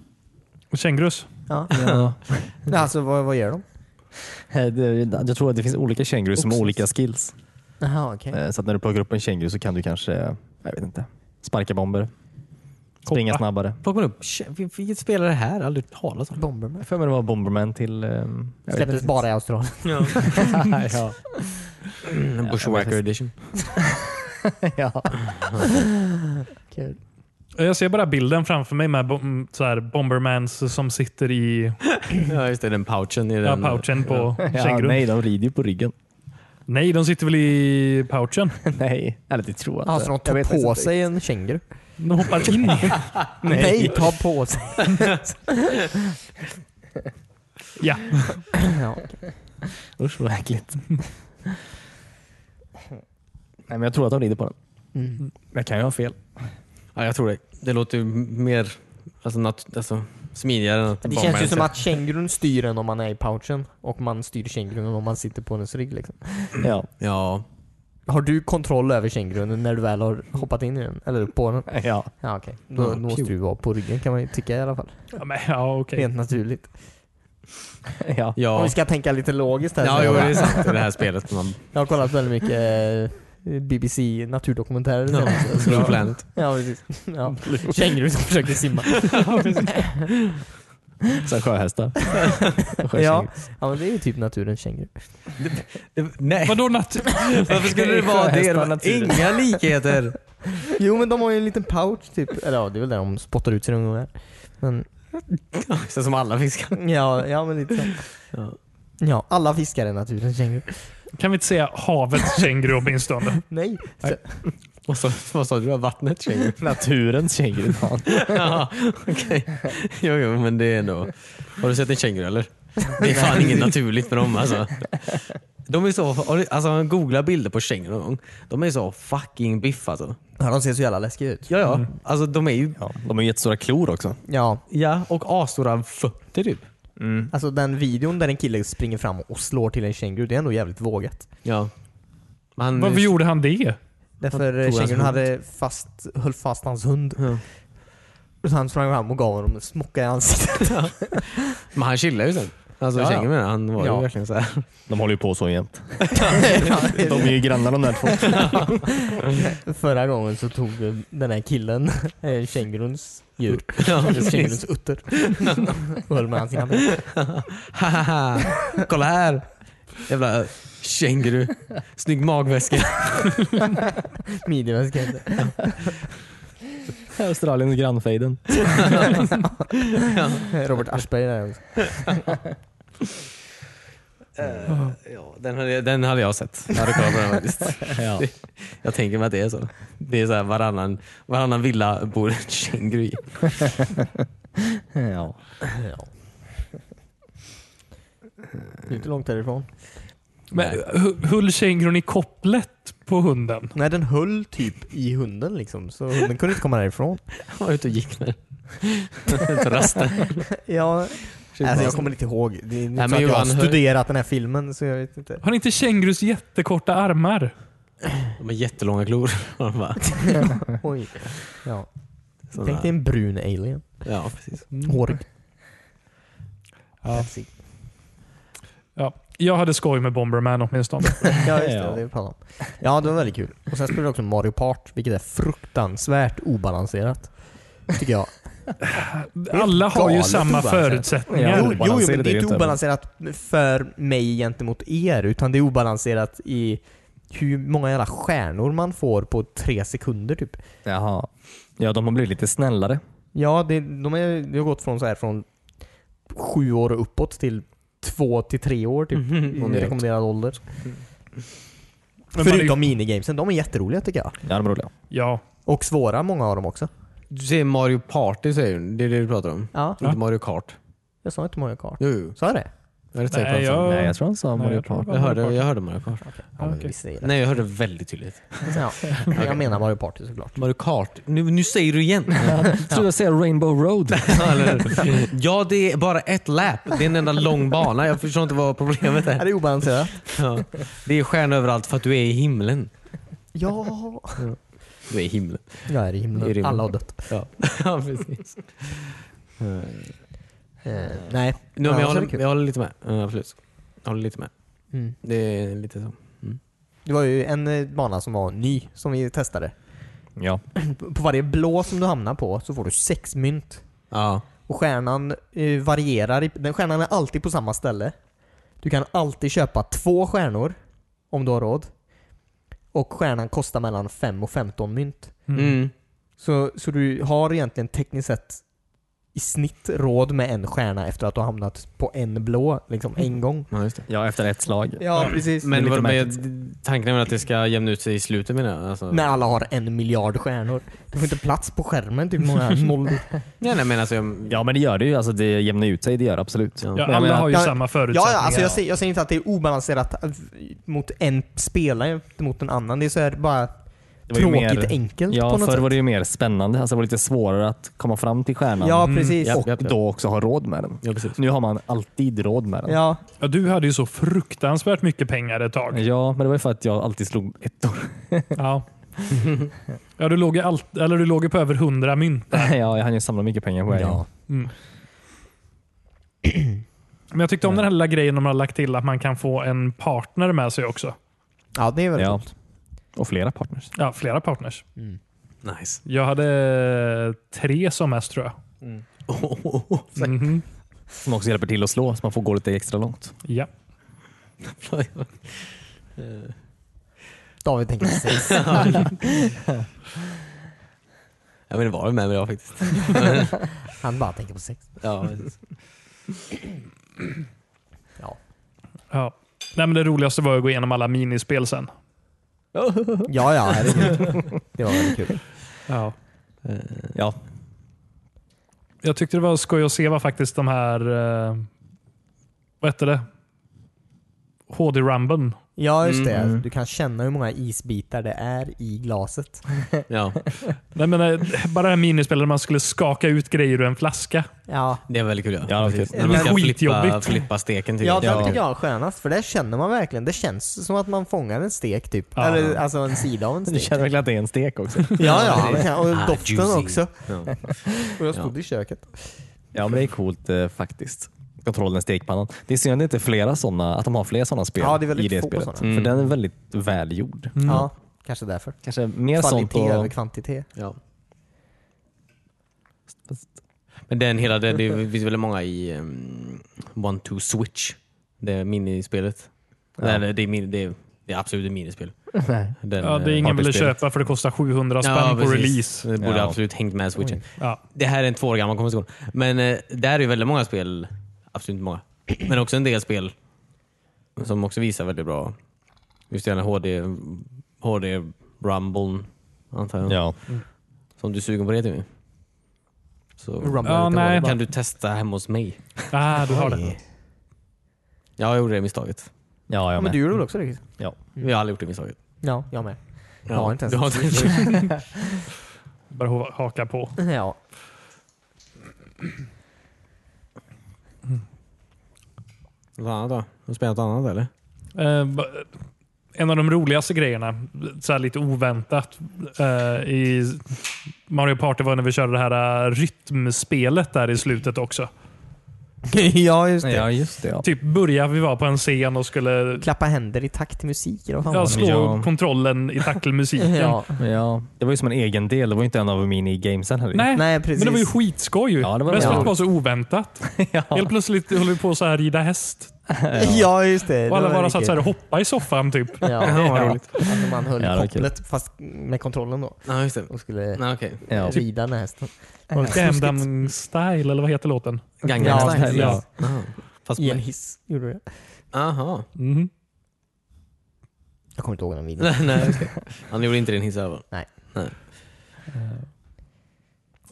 Och kängurus.
Ja.
Ja.
Alltså vad, vad gör de?
Jag tror att det finns olika kängurus som har olika skills.
Jaha, okej.
Eh, Så att när du plockar upp en känguru så kan du kanske, eh, jag vet inte, sparka bomber, springa
Hoppa.
snabbare.
Plockar man upp, Shit, vil- vilket spel är det här? Aldrig hört talas om.
Bomberman.
Jag för mig det var Bomberman till... eh, jag vet
Släpptes
inte.
bara i Australien.
ja.
Bushwacker edition.
ja.
Kul.
Jag ser bara bilden framför mig med bom, så här Bombermans som sitter i
Ja just det, den pouchen. I
ja,
den,
pouchen på
ja,
kängurun. Nej.
nej, de rider ju på ryggen.
de sitter väl i pouchen.
nej, eller det tror jag
Ja, så Alltså, de
Jag
tar
vet faktiskt
på
inte.
sig en känguru?
De hoppar in i.
Nej. ta på sig.
Ja.
ja, okej.
Usch vad äckligt. nej, men jag tror att de rider på den.
mm.
Jag kan ju ha fel.
Ja, jag tror det. Det låter ju mer alltså, nat- alltså, smidigare än att
Det
Bomberman
känns ju som
kör.
att kängurun styr en om man är i pouchen och man styr kängurun om man sitter på dens rygg liksom.
Ja.
Ja.
Har du kontroll över kängurun när du väl har hoppat in i den? Eller på den?
ja.
Ja okej. Då,
Ja,
då måste
kul.
du vara på ryggen kan man ju tycka i alla fall.
Ja, men, ja okej.
Rent naturligt.
ja.
Om
Ja,
vi ska tänka lite logiskt här. så jag,
ja jo, det
bara-
är sant. Det här spelet. Man,
jag har kollat väldigt mycket eh, BBC naturdokumentärer.
ja, Blue Planet.
Ja precis. Ja. Kängurun som försökte simma.
Sen sjöhästar.
ja.
Sjökängurus.
ja men det är ju typ naturens känguru.
Nej.
Vadå natt?
Varför skulle det vara det?
Sjöhästar,
det? var
naturen.
Inga likheter.
Jo men de har ju en liten pouch typ. Eller ja det är väl där de spottar ut sina ungar. Men
Så som alla fiskar.
ja, ja men lite så.
Ja.
Ja, alla fiskar är naturens känguru.
Kan vi inte säga havets känguru åtminstone?
Nej.
Och så, vad sa du? Vattnet tjejer?
Naturens känguru. fan.
Ja, okej. Jo, jo, men det är ändå... Har du sett en känguru eller? Det är fan inget naturligt med dem alltså. De är så... har du- Alltså, googla bilder på känguru någon gång. De är så fucking biff alltså.
Ja, de ser så jävla läskiga ut.
Ja, ja. Alltså de är ju...
Ja, de har ju jättestora klor också.
Ja,
Ja, och asstora fötter typ.
alltså den videon där en kille springer fram och slår till en känguru, det är ändå jävligt vågat.
Ja. Han,
Varför gjorde han det?
Därför eh,
hans
kängurun
hund.
hade fast, höll fast hans hund.
Ja.
Så han sprang fram och gav honom en smocka i ansiktet.
Men han chillade ju sen. Alltså
Ja, ja.
kängurun, han var
Ja.
ju verkligen så här.
De håller ju på så jämt. De är ju grannar de där två.
Förra gången så tog eh, den här killen eh, känguruns djur,
Ja,
känguruns utter, och höll med hans ena ben.
Haha, kolla här! Jävla känguru. Snygg magväska.
Midjeväska heter det.
Australiens grannfejden.
Robert Aschberg där. alltså.
ja, den, hade, den hade jag sett. Jag hade kollat på den faktiskt.
Ja.
Jag tänker mig att det är så. Det är så här varannan, varannan villa bor en känguru i.
Ja.
Ja. Det är inte långt därifrån.
Men,
Nej.
hu- höll kängurun i kopplet på hunden?
Nej, den höll typ i hunden liksom, så hunden kunde inte komma därifrån.
Han var ute och gick med den. På rasten.
Ja, alltså jag kommer inte ihåg. Det är
men
inte så att jag har
Johan, hur-
studerat den här filmen, så jag vet inte.
Har inte kängurus jättekorta armar?
De har jättelånga klor. De bara-
Oj. Ja.
sådana-
Tänk dig en brun alien.
Ja, precis.
Hårig.
Ja. Ja. Jag hade skoj med Bomberman åtminstone.
Ja, just
Ja.
det. Det vi pratade om. Ja, det var väldigt kul. Och sen spelade vi också Mario Kart, vilket är fruktansvärt obalanserat. Tycker jag.
Alla har ju
galet
samma
obalanserat.
förutsättningar.
Jo, jo,
obalanserat
men det
är
är inte
det inte, men-
obalanserat för mig gentemot er, utan det är obalanserat i hur många jävla stjärnor man får på tre sekunder typ.
Jaha. Ja, de har blivit lite snällare.
Ja, det, de är, det har gått från så här från sju år och uppåt till två till tre år typ.
Mhm.
I rekommenderad ålder.
Men man,
Förutom minigamesen. De är jätteroliga tycker jag.
Ja, de är roliga.
ja,
Och svåra, många av dem också.
Du säger Mario Party säger du. Det är det du pratar om.
Ja.
Inte Mario Kart.
Jag sa inte Mario Kart.
Jo, jo.
Sa jag det?
Jag, hade
nej,
jag...
jag,
Nej, jag tror han sa
Nej,
Mario
jag tror
Party.
det
Jag,
var Mario
hörde,
Party.
jag hörde Mario Kart.
Ja, men
okej.
visst säger det.
Nej, jag hörde väldigt tydligt.
Ja. Jag menar Mario Party såklart.
Mario Kart. Nu, nu säger du igen.
Jag trodde jag säga Rainbow Road.
Ja, eller hur? ja, det är bara ett lap. Det är en enda lång bana. Jag förstår inte vad problemet
Är
är.
det obalanserat?
Ja. Det är stjärnor överallt för att du är i himlen.
Ja.
Du är i himlen.
Jag är i
I
himlen.
rymden.
Alla har dött.
Ja, ja precis.
Eh, nej.
Nu, men
Annars är
jag,
det
håller,
kul.
jag håller lite med. Ja, absolut. Jag håller lite med.
Mm.
Det är lite så.
Det var ju en eh, bana som var ny som vi testade.
Ja.
På varje blå som du hamnar på så får du sex mynt.
Ja.
Och stjärnan eh, varierar. i- Den stjärnan är alltid på samma ställe. Du kan alltid köpa två stjärnor om du har råd. Och stjärnan kostar mellan 5 och 15 mynt.
Mm.
Så, så du har egentligen tekniskt sett i snitt råd med en stjärna efter att du har hamnat på en blå liksom
Mm.
en gång.
Ja, just det.
ja, efter ett slag.
Ja, precis.
Men,
lite
vad- men
märkligt.
tanken är väl att det ska jämna ut sig i slutet menar jag? Alltså.
När alla har en miljard stjärnor. Du får inte plats på skärmen. Typ många noll.
Nej, nej, men alltså, jag,
Ja, men det gör det ju. Alltså, det jämnar ut sig. Det gör det absolut.
Ja.
Men jag
ja, alla
menar-
har ju
Ja,
samma
Ja,
förutsättningar.
ja alltså jag, säger, jag säger inte att det är obalanserat eh, mot en spelare mot en annan. Det är så här bara
Det var ju
tråkigt
mer-
enkelt
Ja,
på något
förr
sätt.
var det ju mer spännande. Alltså, det var lite svårare att komma fram till stjärnan
Ja, precis.
Mm,
Ja,
japp, japp,
och
japp.
då också ha råd med den.
ja, precis.
Nu har man alltid råd med den.
ja.
Ja, du hade ju så fruktansvärt mycket pengar ett tag.
Ja, men det var ju för att jag alltid slog ettor.
Ja. Ja, du låg, ju allt, eller du låg ju på över 100 mynt.
ja, jag hann ju samla mycket pengar på vägen.
Ja.
Mm. Men jag tyckte om den här lilla grejen de har lagt till att man kan få en partner med sig också.
det är väl
Ja.
ja.
Och flera partners.
Ja, flera partners.
Nice.
Jag hade tre som mest tror jag. Mhm.
Som också hjälper till att slå, så man får gå lite extra långt.
Ja.
David tänker sex.
jag vet inte vad det med mig jag faktiskt.
Han bara tänker på sex.
Ja, precis.
Ja,
ja. Nej, men det roligaste var att gå igenom alla minispel sen.
ja, ja herregud. Det var väldigt kul.
Ja.
Ja,
Jag tyckte det var skoj att se vad faktiskt de här... Eh, vad hette det? HD-rumben.
Ja, just det.
Mm.
Du kan känna hur många isbitar det är i glaset.
ja.
Nej, men, eh, bara det här minispelet där man skulle skaka ut grejer ur en flaska.
Ja,
Det är väldigt kul. Ja,
Ja, det är
Precis.
kul.
När man ska flippa,
Skitjobbigt.
flippa steken. tycker
ja
jag.
den tycker jag är skönast. För det känner man verkligen. Det känns som att man fångar en stek typ.
Ja.
Eller alltså en sida av en
du
stek.
känner verkligen att det är en stek också.
Ja, ja. Och
Ah,
doften
juicy.
också.
Ja.
Och jag stod i köket.
ja, men det är coolt eh, faktiskt. Kontrollen i stekpannan. Det är synd att det inte är flera sådana, att de har fler sådana spel
Ja, det är väldigt
i det
få
spelet.
sådana.
För den är väldigt välgjord.
Mm.
liksom.
Ja, kanske därför.
Mm. Kanske mer sånt
Kvalitet över
på...
kvantitet.
Ja. Men den hela, det, det finns väldigt många i um, One Two Switch. Det minispelet. Nej, det, det, är, min- det, är, det är absolut ett minispel. Den,
Ja, det
eh,
är ingen ville
partyspelet.
köpa för det kostar 700 spänn på
precis.
release.
Det borde
Ja.
absolut hängt med switchen.
Ja.
Det här är en två år gammal konversation. Men eh, där är ju väldigt många spel, absolut inte många, men också en del spel som också visar väldigt bra. Just den här HD, HD Rumble antar jag.
Ja.
Så om du är sugen på det Timmy. Så
Rumble
Ja,
lite
nej.
vanligt.
kan du testa hemma hos mig.
Ah, du har det.
Oj.
Ja, jag gjorde det misstaget.
Ja, jag
Men
med.
du gjorde väl också det?
Ja.
Vi har aldrig gjort det misstaget.
Ja, Mm. jag med.
Ja,
har inte ens
du
en
inte-
Bara ho- haka på.
Ja.
Något annat då? Har du spelat något annat eller?
Eh, ba- en av de roligaste grejerna, så här lite oväntat, eh, i Mario Party var när vi körde det här eh, rytmspelet där i slutet också.
ja, just det.
Ja, just det. Ja.
Typ börja vi var på en scen och skulle
Klappa händer i takt till musik. Eller vad fan
ja,
var
slå
Ja.
kontrollen i tackelmusiken.
det? Ja.
Ja. Det var ju som en egen del. Det var ju inte en av minigamesen heller.
Nej,
Nej, precis.
men det var ju skitskoj. ju.
Ja, det var
Mest för att
roligt.
det var så oväntat.
Ja.
Helt plötsligt håller vi på så här rida häst.
ja, just det.
Och alla
Det var
bara satt
riktigt.
så här och hoppade i soffan typ.
Ja,
Ja, vad
ja.
roligt.
Alltså man höll
Ja, det var kul.
kopplet fast med kontrollen då.
Ja, just det.
Och skulle
Nej, okej.
Ja.
rida den här hästen.
Gamdam Style, Eh, eller vad heter låten?
Gangnam
Ja,
style.
ja.
Aha. Fast
I en
på...
hiss gjorde du det.
Aha.
Mhm.
Jag kommer inte ihåg den videon.
Nej, nej, okej. Han gjorde inte din hiss över.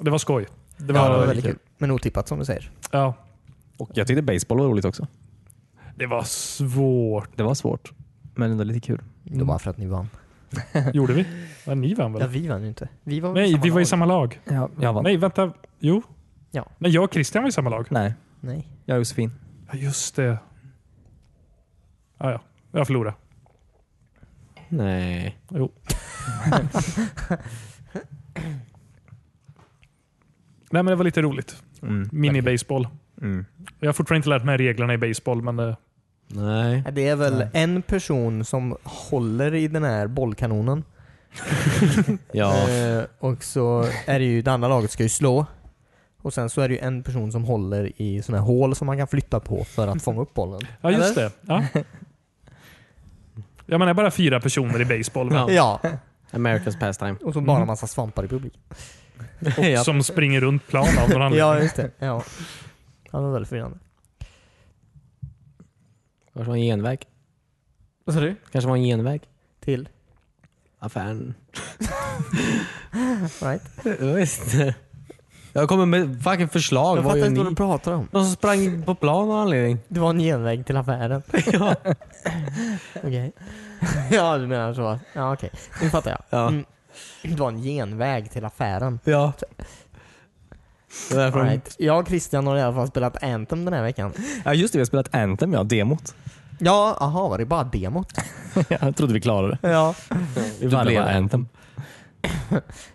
Det var skoj. Det
Ja, det var
var,
väldigt kul. Men otippat som du säger.
ja,
Och jag tyckte baseball var roligt också.
det var svårt.
Det var svårt, men ändå lite kul.
Det var bara för att ni vann.
Gjorde vi? Ja, ni vann
Ja,
väl?
vi vann ju inte. Vi var
Nej, vi var i
lag.
samma lag.
Ja, jag vann. Nej.
Nej, vänta. Jo.
Ja.
Nej, jag och Christian var i samma lag.
Nej,
Nej.
jag och Josefin.
Ja, just det. Ja, ja. Jag förlorade.
Nej.
Jo. Nej, men det var lite roligt.
Mm.
Mini-baseball.
Mm.
Jag har fortfarande inte lärt mig reglerna i baseball, men eh,
Nej.
Ja, Det är väl en person som håller i den här bollkanonen.
Ja.
Eh, och så är det ju det andra laget ska ju slå. Och sen så är det ju en person som håller i sådana här hål som man kan flytta på för att fånga upp bollen.
ja just det. Ja. Jag menar bara fyra personer i baseball va?
Ja,
America's pastime.
och så bara en massa svampar i publiken.
ja.
som springer runt plan av någon anledning.
Ja, just det. Ja. Ja, det var väldigt förvirrande.
Kanske var en genväg.
Vad sa du?
Kanske var en genväg.
Till?
Affären.
Right.
Visst. Jag kommer med fucking förslag.
Jag
Vad
fattar
gör
inte vad
ni?
du pratar om.
Någon som sprang på plan av anledning.
Det var en genväg till affären.
Ja.
Okej. ja, du menar så. Ja, okej. Nu fattar jag.
Ja.
Mm. Det var en genväg till affären.
ja. Det är därför de-
Right. Jag och Christian har i alla fall spelat Anthem den här veckan.
Ja, just det. Vi har spelat Anthem, ja. Demot.
Ja, aha, var det bara demot?
jag trodde vi klarade det.
Ja.
Vi
Du
vann
blev
bara Anthem.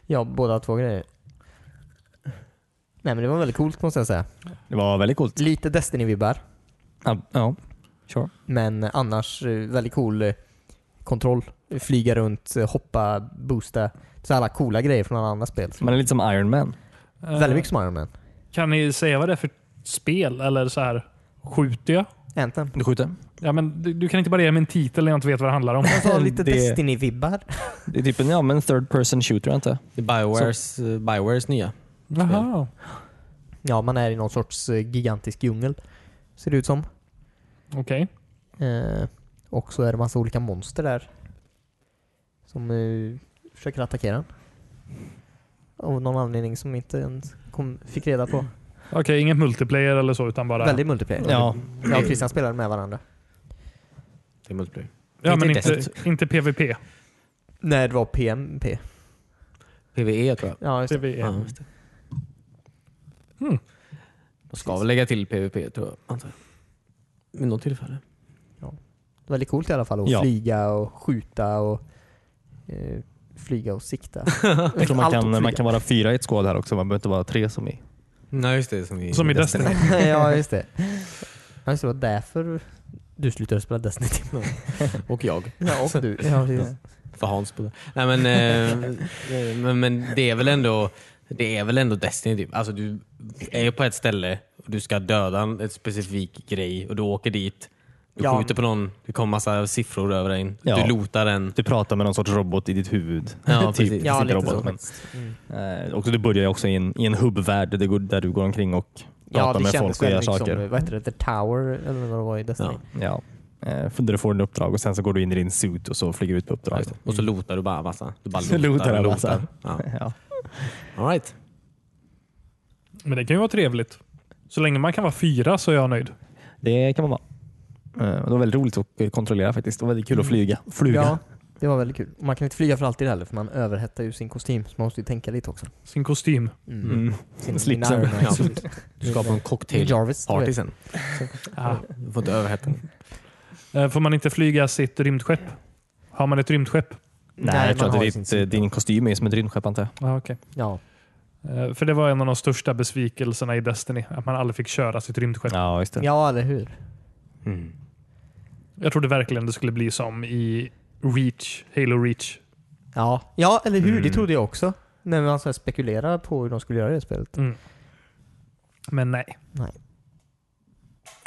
Ja, båda två grejer. Nej men det var väldigt coolt måste jag säga.
Det var väldigt coolt.
Lite Destiny-vibbar,
Ja, ja. Sure.
men annars eh, väldigt cool eh, kontroll. Flyga runt, eh, hoppa, boosta. Så alla coola grejer från alla andra spel.
Man är lite som Iron Man.
Eh,
Väldigt mycket som Iron Man.
Kan ni säga vad det är för spel? Eller så här, skjuter jag?
Anthem.
Du skjuter?
Ja, men du, du kan inte bara ge mig en titel när jag inte vet vad det handlar om.
Jag sa lite
Det-
Destiny-vibbar.
Det är typ en ja, men third person shooter, inte?
det är Biowares, eh, Biowares nya.
Jaha.
Ja, man är i någon sorts eh, gigantisk djungel. Ser det ut som.
Okej.
Eh, och så är det massa olika monster där. Som eh, försöker attackera en. Av någon anledning som inte ens kom, fick reda på.
Okej, inget multiplayer eller så, utan bara...
Väldigt multiplayer.
Ja.
Jag och Christian spelade med varandra.
Det är multiplayer.
ja, men
inte
inte, inte PVP.
Nej, det var PMP.
PVE tror jag.
Ja, just det.
PVE.
Ja, just det.
Hmm.
De ska väl lägga till PVP tror jag. Antar jag. Vid något tillfälle.
Väldigt coolt i alla fall att
Ja.
flyga och skjuta och eh, flyga och sikta.
Jag tror man
Allt att
kan, man
flyga.
kan vara fyra i ett skåd här också. Man behöver inte vara tre som i...
Nej just det. Som i,
Som i Destiny.
ja, just det. Ja, just det. Det var därför du slutade spela Destiny.
Och jag.
Ja, och du. Ja, precis.
För Hans på det. Nej men, eh, eh, men, men det är väl ändå det är väl ändå Destiny typ. Alltså du är ju på ett ställe och du ska döda en ett specifik grej och du åker dit. Du
Ja.
skjuter på någon, det kommer massa siffror över dig.
Ja.
Du lotar den.
Du pratar med någon sorts robot i ditt huvud.
Ja,
typ.
precis.
ja
Sitter
lite så
roboten.
faktiskt. Mm.
Eh, och du börjar ju också i en, i en hubbvärld där du, går- där du går omkring och
Ja,
pratar
det
med
kändes
folk och gör
väldigt mycket
saker.
som, vad heter det, The Tower eller vad det var i Destiny.
Ja.
Ja. Eh, för där du får en uppdrag och sen så går du in i din suit och så flyger du ut på
Ja,
uppdraget.
just det. Och så lotar du bara massa. Du bara
Så
lotar,
lotar
och
du
lotar.
massa.
Ja.
Ja.
All right.
Men det kan ju vara trevligt. Så länge man kan vara fyra så är jag nöjd.
Det kan man vara. Eh, Det var väldigt roligt att kontrollera faktiskt. Det var väldigt kul att flyga. Fluga.
Ja, det var väldigt kul. Och Man kan inte flyga för alltid heller för man överhettar ju sin kostym så man måste ju tänka lite också.
Sin kostym.
Mm.
Mm.
Sin
Slipsen.
Iron Man.
Ja. Du skapar en cocktailparty
Jarvis. du vet.
sen.
Ah.
Mm. Du får inte överhetta.
Eh, Får man inte flyga sitt rymdskepp? Har man ett rymdskepp?
Nej,
Nej,
jag tror
man har
att
sin
ditt,
suit.
din kostym är som ett rymdskepp antar jag.
Ja, okej.
Ja.
Eh, För det var en av de största besvikelserna i Destiny. Att man aldrig fick köra sitt rymdskepp.
Ja, just det.
ja, eller hur.
Mm.
Jag trodde verkligen det skulle bli som i Reach, Halo Reach.
Ja, ja eller hur? Det
Mm.
trodde jag också. När man så här spekulerade
Mm.
på hur de skulle göra det spelet.
Men nej.
Nej.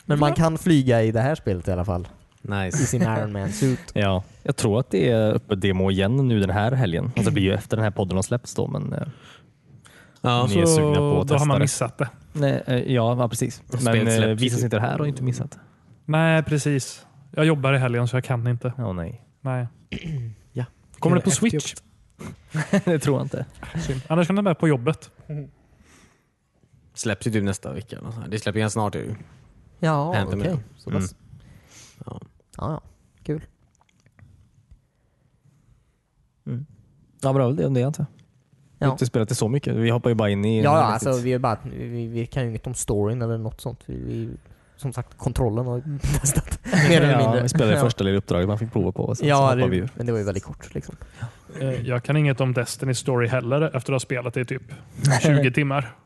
Men man kan flyga i det här spelet i alla fall. I
Nice.
sin Iron Man suit.
Ja, jag tror att det är uppe demo igen nu den här helgen. Alltså, det blir ju efter den här podden har släppts då. Men, eh,
Ja,
Ni är sugna på
Så
att
då har
testa
man
det.
missat det.
nej, eh, ja, ja, precis. Men
släpps
eh,
ju
vi som
typ.
sitter här har inte missat.
Nej, precis. Jag jobbar i helgen så jag kan inte.
Ja, oh, nej.
Nej.
Ja.
Kommer det
Efter
på Switch?
det tror jag inte.
Synd. Annars kan det vara på jobbet.
släpps ju typ nästa vecka. eller nåt sånt här. Det släpps ju ganska snart. Ju.
Ja,
Hämta
okej.
mig
Okay.
den.
Så pass.
Ja.
Ja, ja. Kul.
Ja, men det var väl det om det antar jag. Vi har
Ja.
inte spelat det så mycket. Vi hoppar ju bara in i...
Ja, ja alltså, vi, är bara, vi, vi kan ju inget om storyn eller något sånt. Vi, vi, som sagt, kontrollen har vi testat. Mer eller
Ja,
mindre.
Vi spelade det
Ja.
första lilla uppdraget man fick prova på. och Sen så
Ja,
hoppar
det,
vi ju.
men det var ju väldigt kort. Liksom.
Eh, Jag kan inget om Destiny Story heller efter att ha spelat det i typ 20 timmar.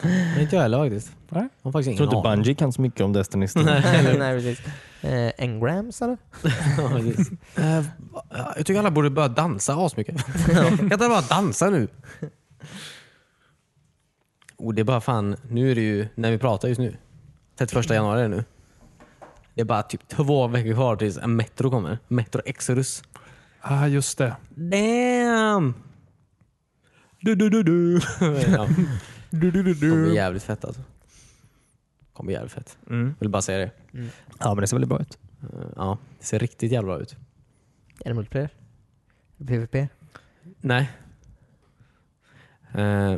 Men inte jag heller faktiskt.
Nej.
Jag har faktiskt ingen
Jag tror inte
aning.
Bungie kan så mycket om Destiny. Nej.
Nej, nej, precis. Eh, engrams eller?
Ja, precis. Eh, jag tycker alla borde börja dansa asmycket. Kan inte alla bara dansa nu? Och det är bara fan, nu är det ju, när vi pratar just nu, 31 januari är det nu. Det är bara typ två veckor kvar tills en Metro kommer. Metro Exodus.
Ah, just det.
Damn! Du, du, du, du. ja. Det kommer bli jävligt fett alltså. Det kommer bli jävligt fett.
Mm.
Vill bara säga det.
Ja, men det ser väldigt bra ut.
Eh, Ja, det ser riktigt jävla bra ut.
Är det multiplayer? PVP?
Nej. Eh,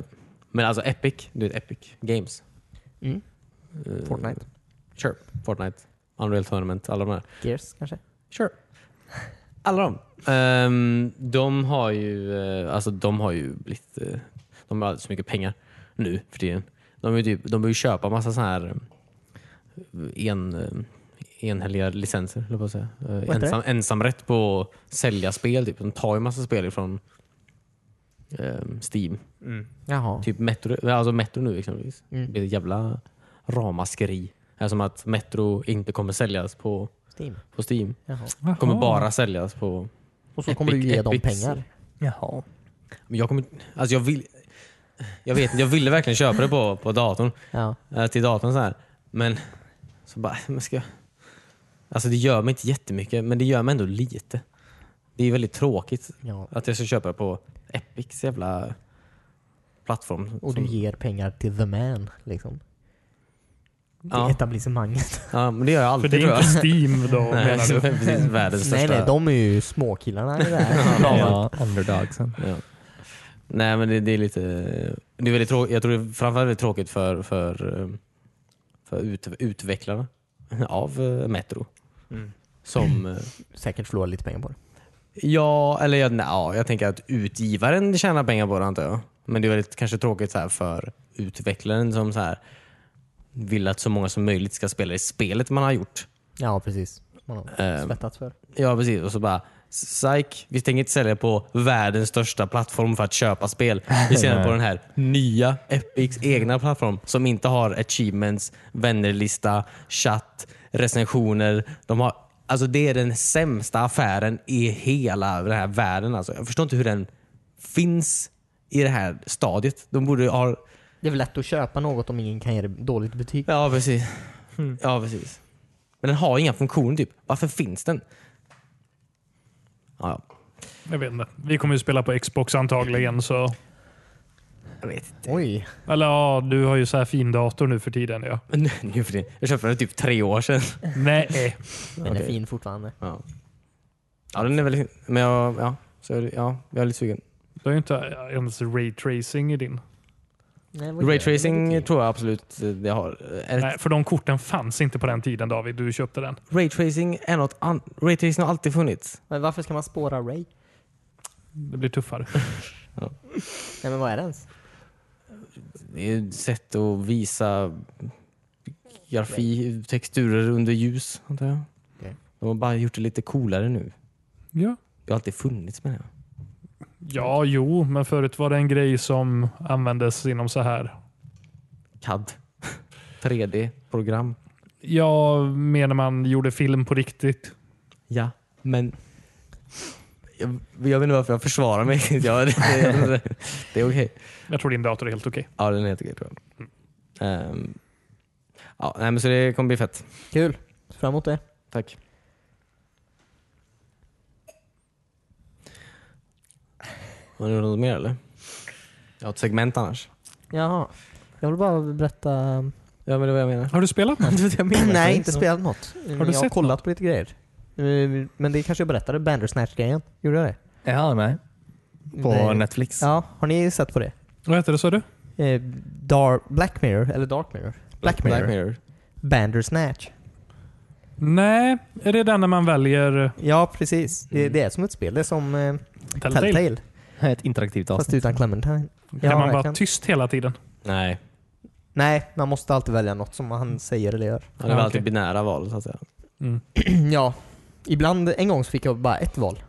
men alltså Epic, du vet Epic Games.
Mm.
Eh,
Fortnite?
Sure. Fortnite, Unreal Tournament, alla de här.
Eh,
Gears kanske?
Sure. Alla de. Ehm, de har ju eh, alltså de har ju blivit eh, de har alldeles för mycket pengar nu för tiden. De vill ju typ, de vill ju köpa massa sådana här eh, en, eh, enhälliga licenser, höll jag på att säga. Eh,
heter det?
Ensam, ensamrätt på att sälja spel. Typ. De tar ju massa spel från Steam.
Jaha.
Typ Metro, alltså Metro nu exempelvis.
Mm.
Det blir ett jävla ramaskeri. Det är som att Metro inte kommer säljas på,
Steam?
på Steam.
Jaha.
Kommer
Jaha.
bara säljas på...
Och så kommer du
Epic-
ge dem
Epics.
pengar?
Jaha.
Men jag kommer... Alltså jag vill... Jag vet inte, jag ville verkligen köpa det på, på datorn.
Ja.
eh, Till datorn så här. Men... Så bara, men ska jag... Alltså det gör mig inte jättemycket, men det gör mig ändå lite. Det är väldigt tråkigt
ja.
att jag ska köpa det på Epics jävla plattform.
Och du
Som-
ger pengar till the man liksom? Till
Ja.
etablissemanget?
Ja, men det gör jag
För
alltid
det är
tror jag.
inte Steam då
Nej,
menar du?
precis, världens största.
Nej nej, de är ju småkillarna i det här.
Ja, underdogsen.
Ja. Nej men det, det är lite... Det är väldigt trå- jag tror det är framförallt väldigt tråkigt för, för, eh, för ut, utvecklarna av eh, Metro. Som... eh,
Säkert förlorar lite pengar på det.
Ja, eller jag, nej, ja, jag tänker att utgivaren tjänar pengar på det antar jag. Men det är väldigt kanske tråkigt så här, för utvecklaren som så här, vill att så många som möjligt ska spela i spelet man har gjort.
Ja precis. Man har
Ehm.
svettats för.
Ja precis, och så bara Psych, vi tänker inte sälja på världens största plattform för att köpa spel. Vi säljer på den här nya Epics egna plattform som inte har achievements, vännerlista, chatt, recensioner. De har, alltså det är den sämsta affären i hela den här världen. Alltså, jag förstår inte hur den finns i det här stadiet. De borde ha...
Det är väl lätt att köpa något om ingen kan ge det dåligt betyg?
Ja precis. Mm. Ja, precis. Men den har inga funktioner typ. Varför finns den? Ja, ja.
Jag vet inte. Vi kommer ju spela på Xbox antagligen. Så.
Jag vet
Oj.
Eller ja, du har ju så här fin dator nu för tiden. Ja.
Nu nu för tiden. Jag köpte den typ tre år sedan.
Nej.
Den är
Okej.
fin fortfarande.
Ja, ja den är väldigt... Men jag, ja, så är det, ja, jag är lite sugen.
Du har ju inte ens ray tracing i din.
Nej, vad gör den med
Raytracing
betyg?
tror jag absolut eh, det har. Är det-
Nej, för de korten fanns inte på den tiden David. Du köpte den.
Raytracing är något an- Raytracing har alltid funnits.
Men varför ska man spåra Ray?
Det blir tuffare.
Nej men vad är det ens?
Det är ju ett sätt att visa grafi, texturer under ljus, antar jag.
Okej.
De har bara gjort det lite coolare nu.
Ja.
Det har alltid funnits med det.
Ja, jo, men förut var det en grej som användes inom så här.
CAD. 3D-program.
Ja, menar man gjorde film på riktigt.
Ja, men... Jag, jag vet inte varför jag försvarar mig. Ja, det, det, det är okej.
Jag tror din dator är helt okej.
Ja, den är helt okej tror jag. Ehm, Ja, nej, men så det kommer bli fett.
Kul. Ser Fram emot det.
Tack. Har du något mer eller? Jag har ett segment annars.
Jaha. Jag vill bara berätta... ehm,
Ja, men det var jag menar.
Har du spelat något?
Nej, inte spelat något. Men
du
jag har
sett
kollat på lite grejer. Eh, Men det kanske jag berättade, Bandersnatch-grejen. Gjorde jag det?
Ja, nej. På
Det-
Netflix.
Ja, har ni sett på det?
Vad heter det sa du?
Eh, Dar- Black Mirror, eller Dark Mirror? Black Mirror.
Black Mirror.
Bandersnatch.
Nej, är det den när man väljer
Ja, precis. Det, det är som ett spel. Det är som eh,
Telltale?
Mm. Telltale,
Ett interaktivt
fast
avsnitt.
utan Clementine.
Kan
Ja,
man vara
verkligen.
tyst hela tiden?
Nej,
Nej, man måste alltid välja något som han säger eller gör.
ja, det var
Ja,
alltid
okej.
binära val så att säga.
Mm.
ja. Ibland, en gång så fick jag bara ett val.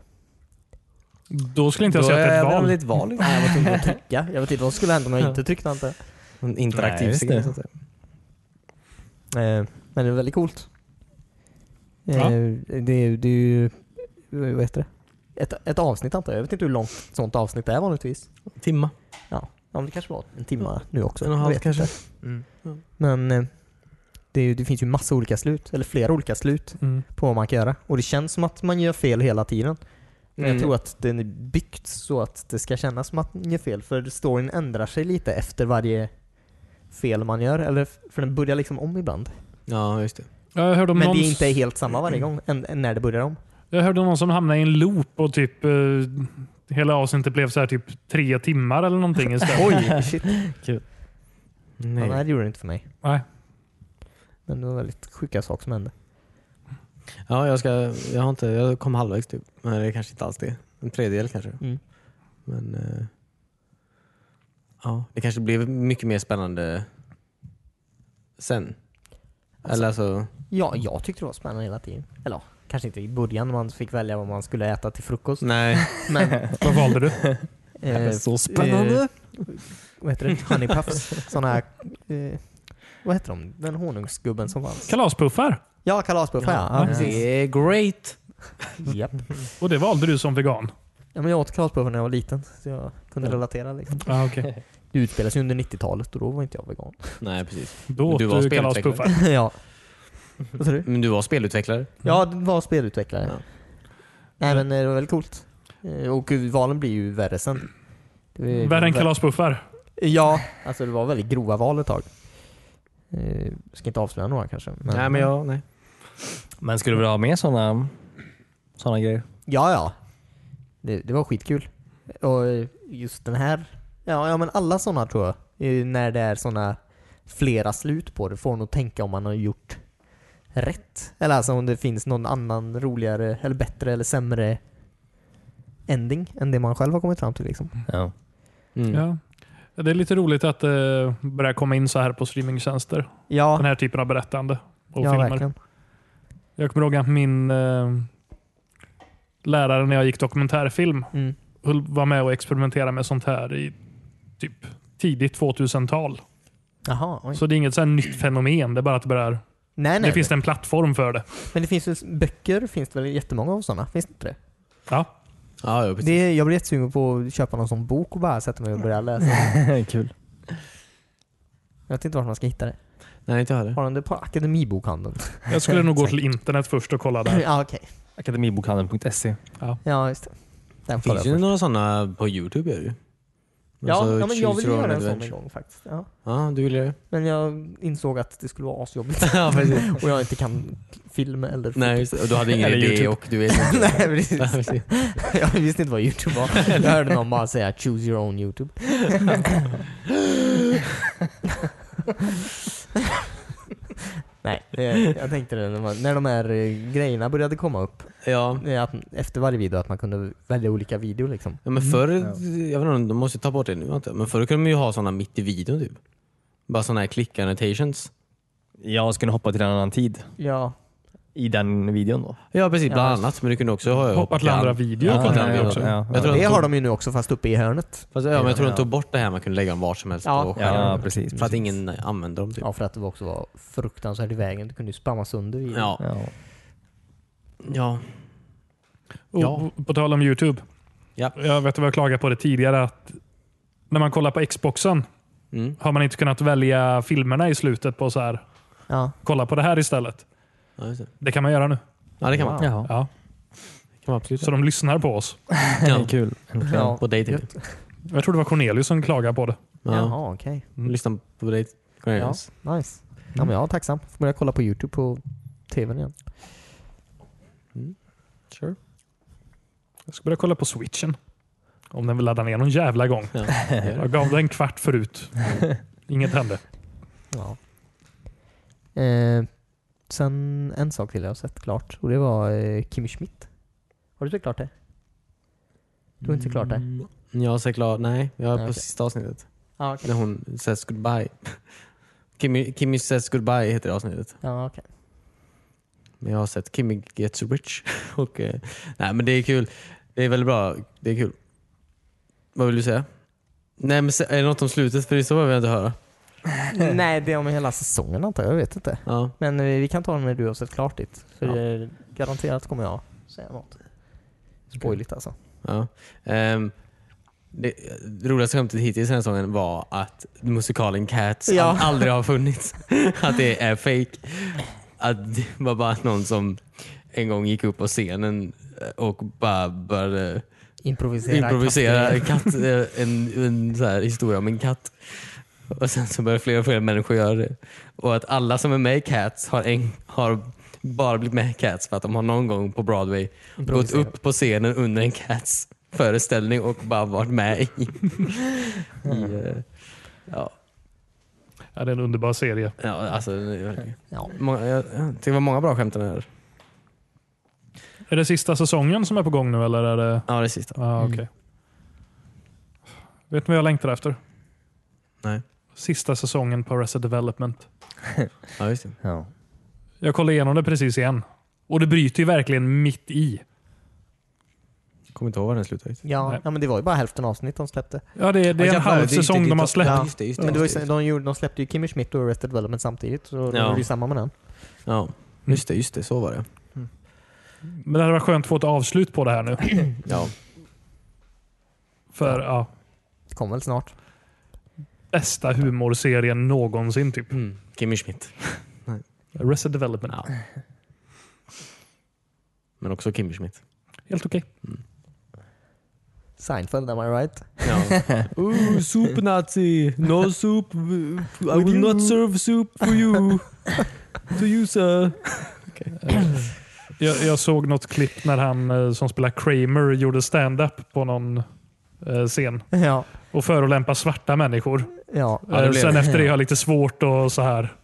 Då skulle inte jag säga att det är ett val.
ett val.
Nej, jag var tvungen att trycka. Jag vet inte vad som skulle hända om jag inte tryckte inte.
En interaktiv
Nej, just
scen
det.
så att säga.
Eh, Men det är väldigt coolt. Eh,
Ja.
Det, är- det är ju, vad heter det? Ett, ett avsnitt antar jag. Jag vet inte hur långt ett sånt avsnitt är vanligtvis.
Timma.
Ja, ja men det kanske var en timme nu också.
En och en
Jag
halv
vet
kanske.
inte. Mm. Men eh, det, är, ju- det finns ju massa olika slut, eller flera olika slut
Mm.
på vad man kan göra. Och det känns som att man gör fel hela tiden. Men
Mm.
jag tror att den är byggt så att det ska kännas som att man gör fel. För storyn ändrar sig lite efter varje fel man gör. Eller f- för den börjar liksom om ibland.
Ja, just det.
Jag, hörde om
Men
någon,
det är inte helt samma varje gång än, än när det börjar om.
jag hörde om någon som hamnade i en loop och typ eh, hela avsnittet blev så här typ tre timmar eller någonting istället.
Oj, shit. Ja,
Nej.
nej, det gjorde det inte för mig.
Nej.
Men det var väldigt sjuka saker som hände.
Ja, jag, ska, jag, har inte, jag kom halvvägs typ. Men det är kanske inte alls det. En tredjedel kanske.
Mm.
Men eh, ja, det kanske blev mycket mer spännande sen. Eller alltså,
Ja, jag tyckte det var spännande hela tiden. Eller ja, kanske inte i början när man fick välja vad man skulle äta till frukost.
nej.
Men,
Vad valde du?
eh,
Så
eh, vad heter det? Honeypuffs. Sådana här... Eh, vad heter de? Den honungsgubben som fanns.
Kalaspuffar.
Ja, kalaspuffar ja. ja precis.
Det är great.
Japp.
Och det valde du som vegan?
Ja, men jag åt kalaspuffar när jag var liten. Så jag kunde relatera liksom.
Ah, okay.
Det utspelar sig under 90-talet och då var inte jag vegan. Mm.
Nej precis.
Då åt
Du
du,
var spelutvecklare.
kalaspuffar.
ja. Vad sa du?
Men du var spelutvecklare?
Ja, det var spelutvecklare.
Ja.
Nej men eh, det var väldigt coolt. Eh, Och valen blir ju värre sen. Det var ju-
Värre än
vä-
kalaspuffar.
Ja, alltså det var väldigt grova val ett tag. Eh, Ska inte avslöja några kanske. Men...
Nej men jag, nej.
Men skulle du vilja ha med sådana såna grejer?
Ja, ja. Det, det var skitkul. Och eh, just den här. Ja, ja men alla sådana tror jag. Eh, När det är sådana flera slut på det får nog tänka om man har gjort rätt. Eller alltså om det finns någon annan roligare eller bättre eller sämre ending än det man själv har kommit fram till liksom.
Ja.
Mm.
Ja. Det är lite roligt att det börjar komma in så här på streamingtjänster.
Ja,
Den här typen av berättande och
ja
filmer.
verkligen.
Jag kommer ihåg att min eh, lärare när jag gick dokumentärfilm
Mm.
höll- var med och experimenterade med sånt här i typ tidigt 2000-tal.
Jaha, oj.
Så det är inget så här nytt fenomen. Det är bara att det, börjar,
nej, nej.
det finns en plattform för det.
Men det finns ju böcker, finns det väl jättemånga av sådana? Finns det inte det?
Ja.
Ja, ja, precis.
det jag blir jättesugen på att köpa någon sån bok och bara sätta mig och börja läsa.
Kul.
Jag vet inte vart man ska hitta det.
Nej inte jag heller.
Har de det på Akademibokhandeln?
Jag skulle nog gå till internet först och kolla där.
ja, okej.
Akademibokhandeln.se.
Ja, just det. Den
Finns
kollar
ju
jag först.
några sådana på youtube gör det ju.
Ja,
Alltså,
ja, men jag
choose
ville
your own
göra en sån en
adventure.
gång faktiskt. Ja.
Ja, du ville det?
Men jag insåg att det skulle vara asjobbigt
ja precis.
och jag inte kan film eller foto.
Nej, just det. Och du hade ingen
Eller
idé
YouTube.
och du vet inte.
Nej, precis.
Ja, precis.
Jag visste inte vad YouTube var. Jag hörde någon bara säga 'choose your own YouTube' Nej, det- jag tänkte det när, man, när de här eh, grejerna började komma upp.
Ja.
eh, Att, efter varje video att man kunde välja olika videor liksom.
Ja, men förr, jag vet inte, de måste ta bort det nu antar jag. men förr kunde man ju ha sådana mitt i videon typ. Bara sådana här click-annotations.
Jag skulle hoppa till en annan tid
Ja.
i den videon då.
Ja precis, bland
Ja.
annat. Men du kunde också ha
Hoppa till andra videor.
Ja,
och kolla.
nej.
videor
ja,
också.
ja, ja.
Jag tror
Det
de
har
tog,
de ju nu också fast uppe i hörnet. Eh,
fast, ja, men jag tror de
Ja.
tog bort det här man kunde lägga dem var som helst
Ja.
på skärmen.
Ja, precis.
För att
precis.
ingen använde dem typ.
Ja, för att det också var fruktansvärt i vägen. Du kunde ju spamma sönder videon.
Ja.
Ja.
ja. Ja.
Och på tal om YouTube.
Ja.
Jag vet att jag klagade på det tidigare. att När man kollar på Xboxen
Mm.
har man inte kunnat välja filmerna i slutet på så här
Ja.
Kolla på det här istället.
Ja, just det.
Det kan man göra nu.
ja, det kan man.
Ja.
Jaha.
Ja.
Kan man absolut.
Så de lyssnar på oss.
Ja.
Kul.
Ja.
På dejt. typ.
Gött.
Jag tror det var Cornelius som klagade på det.
Ja.
Jaha, okej.
Lyssna på dejt.
Ja,
Cornelius.
nice. Ja, men jag är tacksam. Får börja kolla på YouTube på TVn igen.
Sure.
Jag ska börja kolla på switchen. Om den vill ladda ner någon jävla gång.
Ja.
Jag gav den en kvart förut. Inget hände.
Ja. Eh, sen en sak till jag har sett klart och det var eh, Kimmy Schmidt. Har du sett klart det? Du har inte sett klart det?
Mm, Jag har sett klart, nej. Jag är
Nej,
på
okej.
sista avsnittet.
Ja,
När hon says goodbye. Kimmy, Kimmy says goodbye heter det avsnittet.
Ja, okej.
Men jag har sett Kimmy gets rich. Och, eh, nej men det är kul. Det är väldigt bra. Det är kul. Vad vill du säga? Nej men se- är det något om slutet? För i så fall vill jag inte höra.
Nej, det är om hela säsongen antar jag. Jag vet inte.
Ja.
Men eh, vi kan ta den när du har sett klart ditt. För
Ja.
eh, garanterat kommer jag säga något. Spoiligt alltså.
Ja. Ehm, det det roligaste skämtet hittills i den här säsongen var att musikalen Cats
Ja.
all- aldrig har funnits. att det är fake. Att det var bara någon som en gång gick upp på scenen och bara började
Improvisera.
improvisera
katter.
en, katt, eh, en, en så här historia om en katt. Och sen så börjar fler och fler människor göra det. Och att alla som är med i Cats har, en, har bara blivit med i Cats för att de har någon gång på Broadway gått
Improviserat.
upp på scenen under en Cats föreställning och bara varit med i. i eh, ja,
Ja, det är en underbar serie.
ja, alltså, det är verkligen-
Ja.
många, jag, jag tycker det var många bra skämt i den här.
Är det sista säsongen som är på gång nu eller är det...
Ja, det sista.
Ja, okej. Vet ni vad jag längtar efter?
Nej.
Sista säsongen på Arrested Development.
Ja, just det.
Ja.
Jag kollade igenom det precis igen. Och det bryter ju verkligen mitt i.
Kommer inte ihåg var den slutade.
Ja,
Nej.
ja, men det var ju bara hälften avsnitt de släppte.
Ja, det, det är en halv säsong de har släppt.
Ja.
Just det, just det,
Men det var ju,
just det,
sen- de, gjorde, de släppte ju Kimmy Schmidt och Arrested Development samtidigt. Så då
Ja.
var det ju samma med den.
Ja, just det, just det. Så var det.
Men det hade varit skönt att få ett avslut på det här nu.
Ja.
För ja,
Det kom väl snart.
bästa humorserien någonsin typ.
Mm. Kimmy Schmidt.
Arrested Development.
Ja. Men också Kimmy Schmidt.
Helt okej.
Seinfeld, am I right?
Ja. Ooh, soup nazi! No soup! I
will not
serve soup for you! To you sir!
Jag, jag såg något klipp när han eh, som spelar Kramer gjorde stand-up på någon eh, scen
ja.
och förolämpa svarta människor.
Ja.
Ja, det
Eh,
blev-
Sen efter det har jag lite svårt och så här.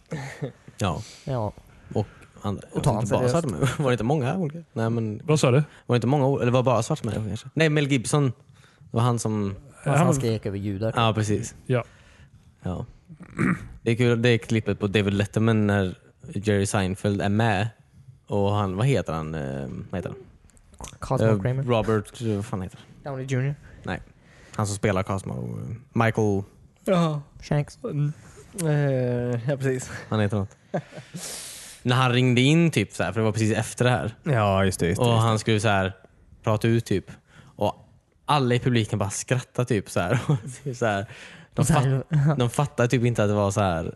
Ja,
Ja.
andra.
Och ta
Var det
han
inte bara
seriöst.
svarta människor? Var det inte många olika? Nej men,
Vad sa du?
var det inte många? Eller var det bara svarta människor kanske? Nej, Mel Gibson. Det var han som...
Fast
Han-
han skrek över judar.
Ja, precis.
Ja.
ja. Det är kul, det är klippet på David Letterman när Jerry Seinfeld är med. Och han, vad heter han? Eh, Vad heter han?
Cosmo
Eh,
Kramer.
Robert, eh, vad fan heter han?
Downey Jr.
Han som spelar Cosmo. eh, Michael,
Ja. eh,
Shanks.
ja, precis.
han heter något. När han ringde in typ så här, för det var precis efter det här.
Ja, just det. Just det,
Och
just
han skulle så här prata ut typ. Och alla i publiken bara skrattade typ så här. Och typ så här. De,
Så
fatt,
här-
de fattade typ inte att det var så här.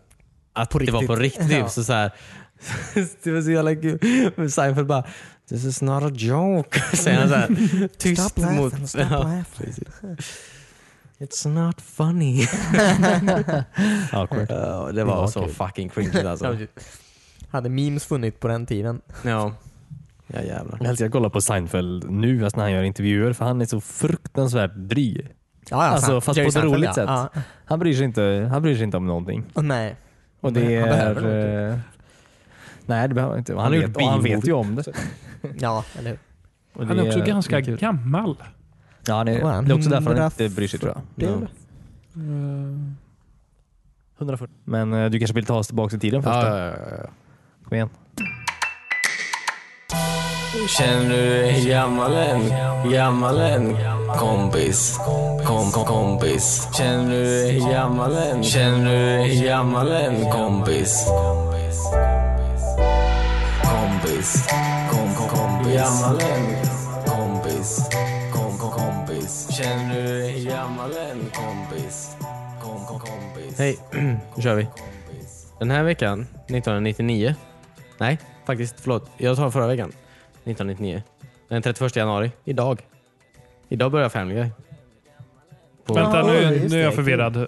Att
På
det var på
riktigt.
riktigt. typ.
Ja.
Så så här, det var så jävla kul. Men Seinfeld bara “This is not a joke”. Säger han så här, tyst
Stop laughing,
mot...
stop laughing.
It's not funny.
det. Awkward.
Ja, det
var
var så
kul.
fucking cringe alltså.
Hade memes funnits på den tiden?
Ja. ja jävlar.
Jag älskar att kolla på Seinfeld nu alltså när han gör intervjuer för han är så fruktansvärt dryg.
Ja,
Alltså,
fan.
fast
Jerry
på ett
Seinfeld,
roligt
ja.
sätt.
Ja.
Han bryr sig inte, han bryr sig inte om någonting.
Och nej.
Och det
Nej, han
är...
behöver nog inte.
eh, Nej, det behöver han inte. Och
Han
Han,
har
vet,
gjort
och han vet
bilmodet.
ju om det.
Ja, eller hur?
Och
Han
det
är också ganska
det är kul.
gammal.
Ja, det,
Vad är han?
det är också därför han
100
inte bryr sig tror jag.
Det är
Ja.
det.
140. Men eh, du kanske vill ta oss tillbaka i tiden först? då? Kom igen.
Känner du dig gammal än? Gammal än? Kompis, kom, kom, kompis. Känner du dig gammal än? Känner du dig gammal än? Kompis, kompis, kom, kom, kompis. Gammal än? Kompis, kom, kom, kompis. Känner du dig gammal än? Kompis, kom, kom, kompis.
Hej, nu kör vi.
Kompis,
Den här veckan, 1999. Nej, faktiskt. Förlåt. Jag tar förra veckan. 1999. Den 31 januari. Idag. Idag börjar Family Guy. På...
Vänta,
Ja,
nu,
just
nu är jag
det.
förvirrad.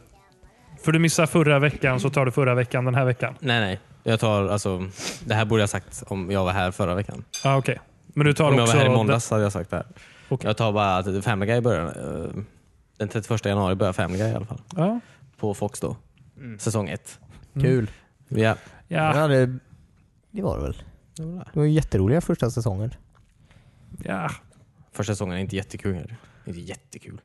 För du missar förra veckan så tar du förra veckan den här veckan.
Nej, nej. Jag tar, alltså, det här borde jag sagt om jag var här förra veckan.
Ah, Okej. Men du tar
Om jag var
också...
här i måndags hade jag sagt det här.
Okej.
Jag tar bara att Family Guy börjar... eh, Den 31 januari börjar Family Guy i alla fall.
Ja.
På Fox då. Säsong ett.
Mm. Kul.
Ja.
Ja,
Ja, det, det var det väl.
Det var det.
Det var ju jätteroliga första säsongen.
ja.
Första säsongen är inte jättekul heller. Inte jättekul.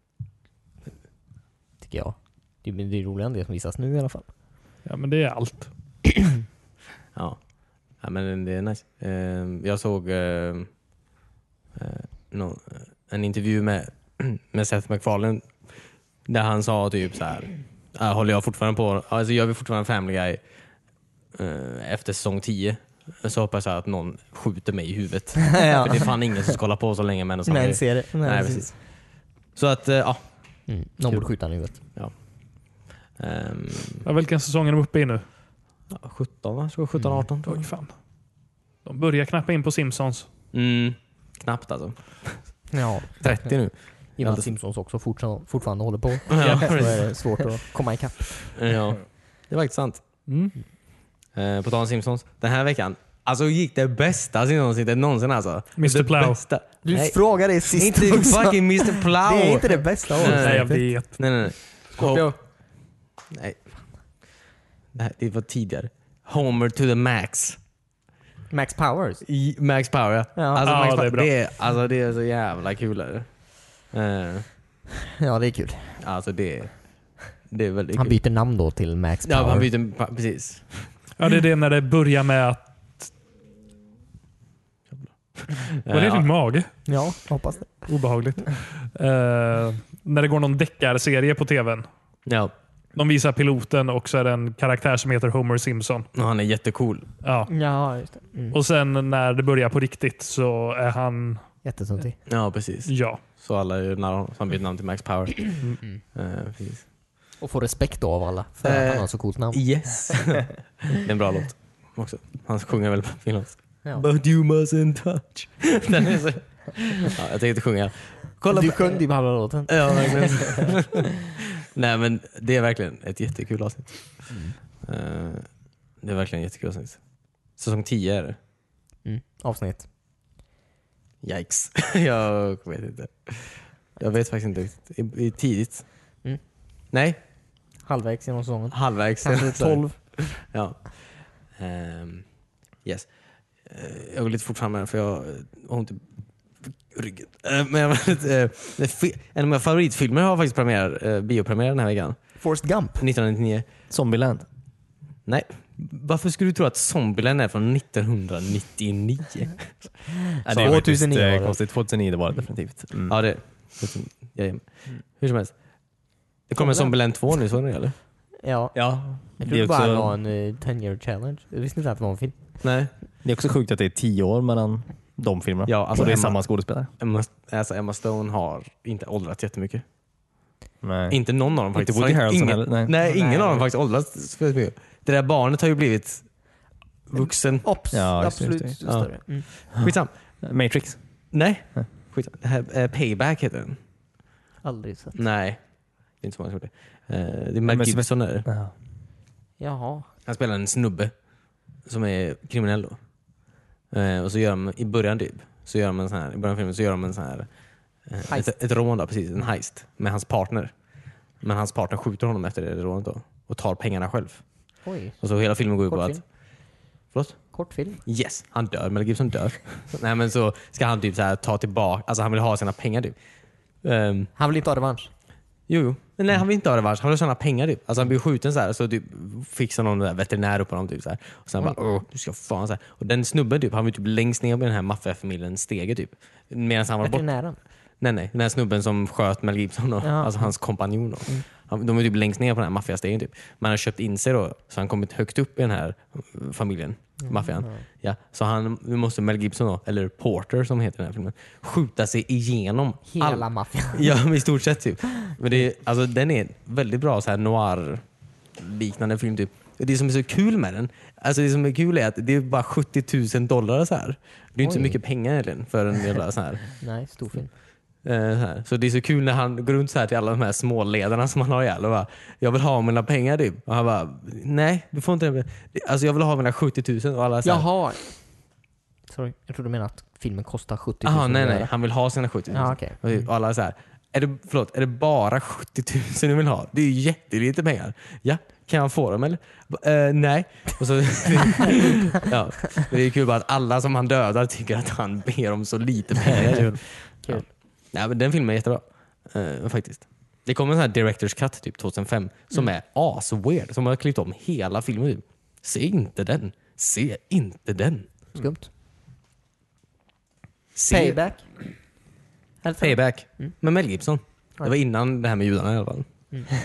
Tycker jag. Det, men det är roligare än det som visas nu i alla fall.
ja, men det är allt.
Ja. ja men det är nice. Ehm, jag såg ehm, eh, någon, en intervju med, med Seth MacFarlane där han sa typ så här. "Ah, Håller jag fortfarande på? Alltså gör vi fortfarande Family Guy eh, efter säsong 10 så hoppas jag att någon skjuter mig i huvudet. För det är fan ingen som ska hålla på så länge med en sån
Nej,
grej.
ser det. Nej,
Nej,
precis.
precis. Så att, eh, ja.
Mm. Någon borde skjuta honom i huvudet.
Ehm,
Ja, vilken säsong är de uppe i nu?
ja, 17 va? 17, 18 tror
Oj,
jag.
fan. De börjar knappa in på Simpsons.
Mm, knappt alltså.
Ja.
30 nu.
I och med att Simpsons också fortsa- fortfarande håller på. så är det svårt att komma ikapp.
Ja, det var faktiskt sant.
Mm.
Eh, på tal om Simpsons, den här veckan alltså gick det bästa Simpsons-snittet någonsin alltså.
Mr.
Det
Plow.
bästa.
Du
Nej,
frågade det sist
inte
också.
fucking Mr Plow!
Det är inte det bästa
Nej.
Nej,
avsnittet.
jag vet.
Nej, nej, nej.
Scorpio.
Ho- nej. Det, här, det var tidigare. Homer to the max.
Max Powers.
I max power ja.
Ja.
Alltså,
Ja,
max
det är
power,
bra.
det, är, alltså, det är så jävla kul. Är det. Eh,
Ja, det är kul.
alltså det, är- det är väldigt
Han
kul.
byter namn då till Max Power.
Ja, han byter, pa- precis.
Ja, det är det när det börjar med att... Var det
typ
Eh,
din mage?
Ja, jag hoppas det.
Obehagligt. Eh, när det går någon deckarserie på tvn.
ja.
De visar piloten och så är det en karaktär som heter Homer Simpson.
Och Han är jättecool.
Ja.
Ja, just det. Mm.
Och sen när det börjar på riktigt så är han...
Jättetöntig.
Ja, precis.
Ja.
Så alla är ju nära honom. Så han byter namn till Max Power. Eh, precis.
Och får respekt då av alla för att
Eh,
han har så coolt namn.
Yes. det är en bra låt också. Han sjunger väl på finlandska.
Ja.
But you mustn't touch. Den är så... ja, jag tänkte sjunga. Kolla
Du
på-
sjöng ju på halva låten.
Ja, verkligen. Nej, men det är verkligen ett jättekul avsnitt. Eh, det är verkligen ett jättekul avsnitt. Säsong 10 är det.
Mm. Avsnitt.
Yikes. jag vet inte. Jag vet faktiskt inte riktigt. I- i- Tidigt.
Mm.
Nej,
Halvvägs genom typ säsongen.
halvvägs.
Kanske
Sorry.
12.
Ja. Ehm, yes. Eh, jag går lite fort fram här för jag eh, har ont i ryggen. Eh, men jag, var lite, eh, det fi- en av mina favoritfilmer har faktiskt premiär, eh, biopremiär den här veckan.
Forrest Gump.
1999.
Zombieland.
Nej. Varför skulle du tro att Zombieland är från 1999?
Ja,
det är faktiskt, 2009 var det.
eh, konstigt. 2009 det var det definitivt. Mm.
Ja, det är Jajamän. Hur som helst. Det kommer en Zombieland 2 nu, såg ni det eller?
Ja.
Ja.
Jag
Det
trodde
är
bara
också-
det var en eh, 10 year challenge. Jag visste inte att det var en film.
Nej.
Det är också sjukt att det är tio år mellan de filmerna.
Ja, alltså
och det är
Emma-
samma skådespelare.
Emma, alltså Emma Stone har inte åldrats jättemycket.
Nej.
Inte någon av dem faktiskt.
Woody
Har
Harrelson
ingen,
heller, nej.
nej. ingen av dem faktiskt åldrats för mycket. Det där barnet har ju blivit vuxen.
Ops,
Ja, just det,
absolut
just
det. Ja.
större. Mm.
Skitsam.
Matrix.
Nej. Skitsam. Det här, eh, payback heter den.
Aldrig sett.
Nej. Det är inte så många som tror det. Eh, det är
men
Mel
som-
Gibson där.
Ja.
Jaha.
Han spelar en snubbe som är kriminell då. Eh, och så gör de, i början typ, så gör de en sån här, i början av filmen så gör de en sån här, eh,
Heist.
ett, ett rån då, precis, en heist med hans partner. Men hans partner skjuter honom efter det rånet då och tar pengarna själv.
Oj.
Och så hela filmen går ut på
Kortfilm.
att, förlåt?
Kortfilm.
Yes, han dör. Mel Gibson dör. Nej men så ska han typ så här ta tillbaka, alltså han vill ha sina pengar typ. Ehm,
Han vill inte ha revansch.
Jo, jo. Men Nej, han vill inte ha revansch. Han vill tjäna pengar typ. Alltså han blir skjuten så här så typ fixar någon där veterinär upp honom typ så här. Och sen bara Åh, du ska fan så här. Och den snubben typ, han var typ längst ner på den här maffiafamiljens stege typ. Medan han var bort...
Veterinären.
Nej nej, den här snubben som sköt Mel Gibson då.
Ja. Mm.
Alltså hans kompanjon då. Han, de var typ längst ner på den här maffiastegen typ. Men han har köpt in sig då, så han kommit högt upp i den här eh, familjen,
Mm.
maffian. Ja. Så han, nu måste Mel Gibson då, eller Porter som heter i den här filmen, skjuta sig igenom all-
Hela maffian.
Ja, men i stort sett typ. Men det, är- alltså, den är väldigt bra så här noir liknande film typ. Det som är så kul med den, alltså det som är kul är att det är bara 70 000 dollar så här. Det är inte så
Oj.
mycket pengar egentligen för en jävla så här.
Nej, stor film.
Eh, Så, här. så det är så kul när han går runt så här till alla de här småledarna som han har ihjäl och bara “Jag vill ha mina pengar” typ. Och han bara “Nej, du får inte det. Alltså jag vill ha mina 70 000” och alla så här,
Jaha. Sorry, jag trodde du menade att filmen kostar 70 000
“Jaha, nej nej,
dollar.
"Typ, han vill ha sina 70 000”.
Ja, okej.
Och typ alla så här är det, “Förlåt, är det bara 70 000 du vill ha? Det är ju jättelite pengar.” “Ja, kan jag få dem eller?” "Eh, “Nej”. Och så, ja. Men Det är kul bara att alla som han dödar tycker att han ber om så lite pengar.
Kul.
Nej, men den filmen är jättebra. Eh, faktiskt. Det kom en sån här Directors Cut typ 2005 som är as-weird. Som har klippt om hela filmen. Typ. Se inte den. Se inte den.
Skumt.
Se
Payback. Helt sant.
Payback.
Mm.
Med Mel Gibson. Det var innan det här med judarna i alla fall.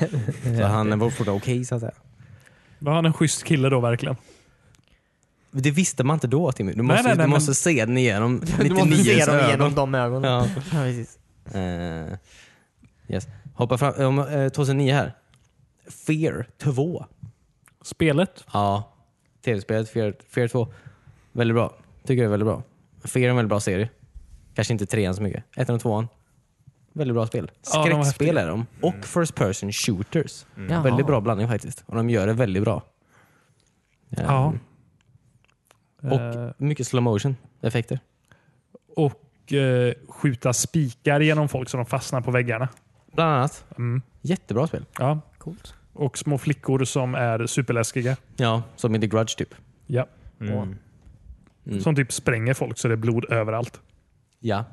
så han var fortfarande okej så att säga.
Var han en schysst kille då verkligen?
Det visste man inte då Timmy. Du
Nej,
måste,
nej, nej,
du
men-
måste se den igenom
Du måste
99
se
s
dem
ögon.
genom de ögonen.
Ja.
Ja, precis.
Eh, yes. Hoppa fram. Om, eh, 2009 här. Fear 2.
Spelet?
Ja, tv-spelet Fear, Fear 2. Väldigt bra. Tycker jag är väldigt bra. Fear är en väldigt bra serie. Kanske inte trean så mycket. Ettan och tvåan. Väldigt bra spel.
Ja, de var
Skräckspel
häftiga.
är de. Och first person shooters.
Jaha.
Mm. Väldigt bra blandning faktiskt. Och de gör det väldigt bra. Eh,
Ja. Eh,
Och mycket slow motion effekter.
och eh, skjuta spikar genom folk så de fastnar på väggarna.
Bland annat.
Mm.
Jättebra spel.
Ja.
Coolt.
Och små flickor som är superläskiga.
Ja, som i The Grudge typ.
Ja.
Mm.
Mm.
Som typ spränger folk så det är blod överallt.
Ja.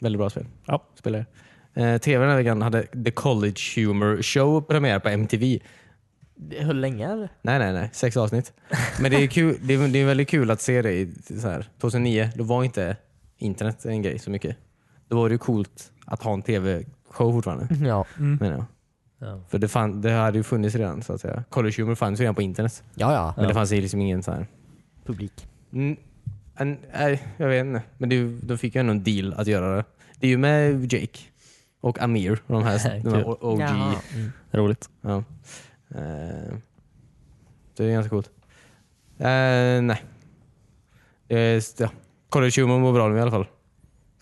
Väldigt bra spel.
Ja.
Spelare. Eh, TV den här veckan hade The College Humor Show premiär på MTV.
Det höll länge eller?
Nej, nej, nej. Sex avsnitt. Men det är, kul, det är, det är väldigt kul att se det i, så här, 2009. Då var inte internet en grej så mycket. Då var det ju coolt att ha en tv-show fortfarande.
Ja.
Mm.
Menar jag.
Ja.
För det, fann, det hade ju funnits redan så att säga. College humor fanns ju redan på internet.
Ja, ja.
Men det fanns ju liksom ingen så här...
Publik.
Mm, en, nej, jag vet inte. Men det, är ju- de fick ju ändå en deal att göra det. Det är ju med Jake och Amir och de här, de här
Kul.
OG.
Ja.
Roligt.
Ja. Eh, det är ganska coolt. Eh, nej. Eh, s- ja. College Humor mår bra nu i alla fall.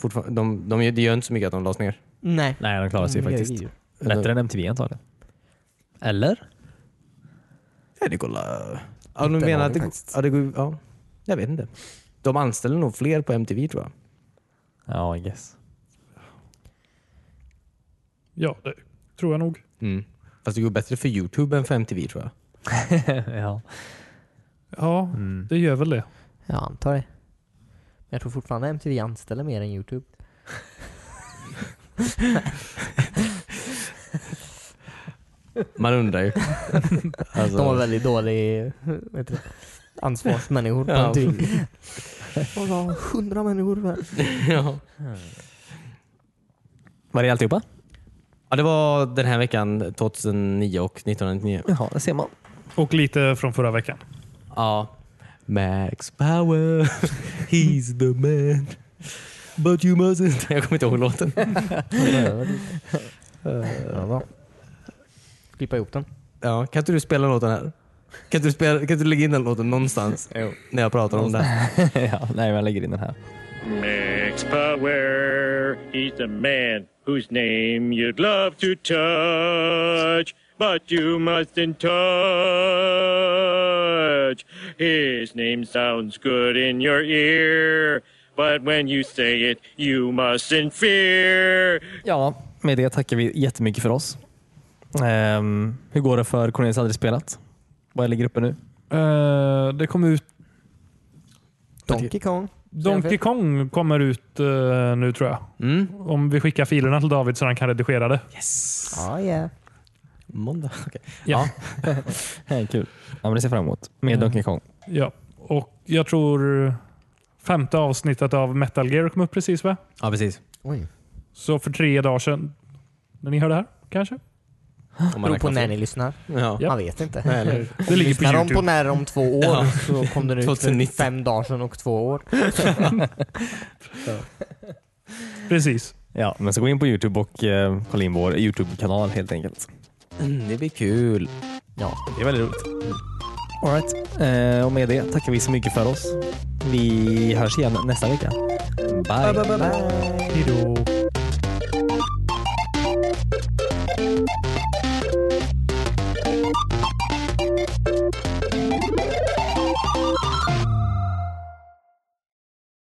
Fortfar- de, de, gör- det gör inte så mycket att de lades ner.
Nej.
Nej, de klarar sig
Mm,
faktiskt.
det är ju-
Bättre än MTV antagligen. Eller?
Ja, det kolla. Ja, de
Inte en
menar att
aning
det,
faktiskt.
ja, det går, ja, jag vet inte. De anställer nog fler på MTV tror jag.
Ja, I guess.
Ja, det tror jag nog.
Mm. Fast det går bättre för Youtube än för MTV tror jag.
ja.
Ja,
Mm.
det gör väl det.
Jag antar det. Men jag tror fortfarande MTV anställer mer än YouTube.
Man undrar ju. Alltså,
De har väldigt dålig vad heter det, ansvarsmänniskor på typ. MTV.
Ja.
Och så har hundra människor där.
ja.
Var det alltihopa?
ja, det var den här veckan 2009 och 1999.
Jaha, det ser man.
Och lite från förra veckan.
Ja. Max Power, he's the man. But you mustn't... Jag kommer inte ihåg låten.
Ja, bra. Klippa ihop den.
Ja, kan inte du spela låten här? Kan inte du, spela, kan inte du lägga in den låten någonstans? När jag pratar om det här.
ja, nej, jag lägger in den här.
Max Power. He's the man whose name you'd love to touch, but you mustn't touch. His name sounds good in your ear, but when you say it, you mustn't fear.
Ja, med det tackar vi jättemycket för oss. Ehm, hur går det för Cornelis aldrig spelat? Vad ligger uppe nu?
Eh, det kom ut...
Donkey Kong.
Donkey Kong kommer ut eh, nu tror jag.
Mm.
Om vi skickar filerna till David så han kan redigera det.
Yes!
Ja, ja.
Måndag. Okej.
Ja.
Kul. Mm. Ja, men det ser jag fram emot. Med Donkey Kong.
Ja. Och jag tror femte avsnittet av Metal Gear kom upp precis va?
Ja, precis.
Oj.
Så för tre dagar sedan, när ni hör det här kanske?
Om
Beror på
räknar
när ni lyssnar.
fel. Ja.
Ja.
Man vet inte.
Nej, eller hur?
Det ligger på
lyssnar de
Youtube.
på när om två år
Ja.
så kom den ut för
2019.
fem dagar sedan och två år.
Precis.
Ja, men så gå in på Youtube och eh, kolla in vår Youtube-kanal helt enkelt.
Mm, det blir kul.
Ja.
Det är väldigt roligt.
Alright. Eh, och med det tackar vi så mycket för oss. Vi hörs igen nästa vecka. Bye.
Bye.
Hejdå.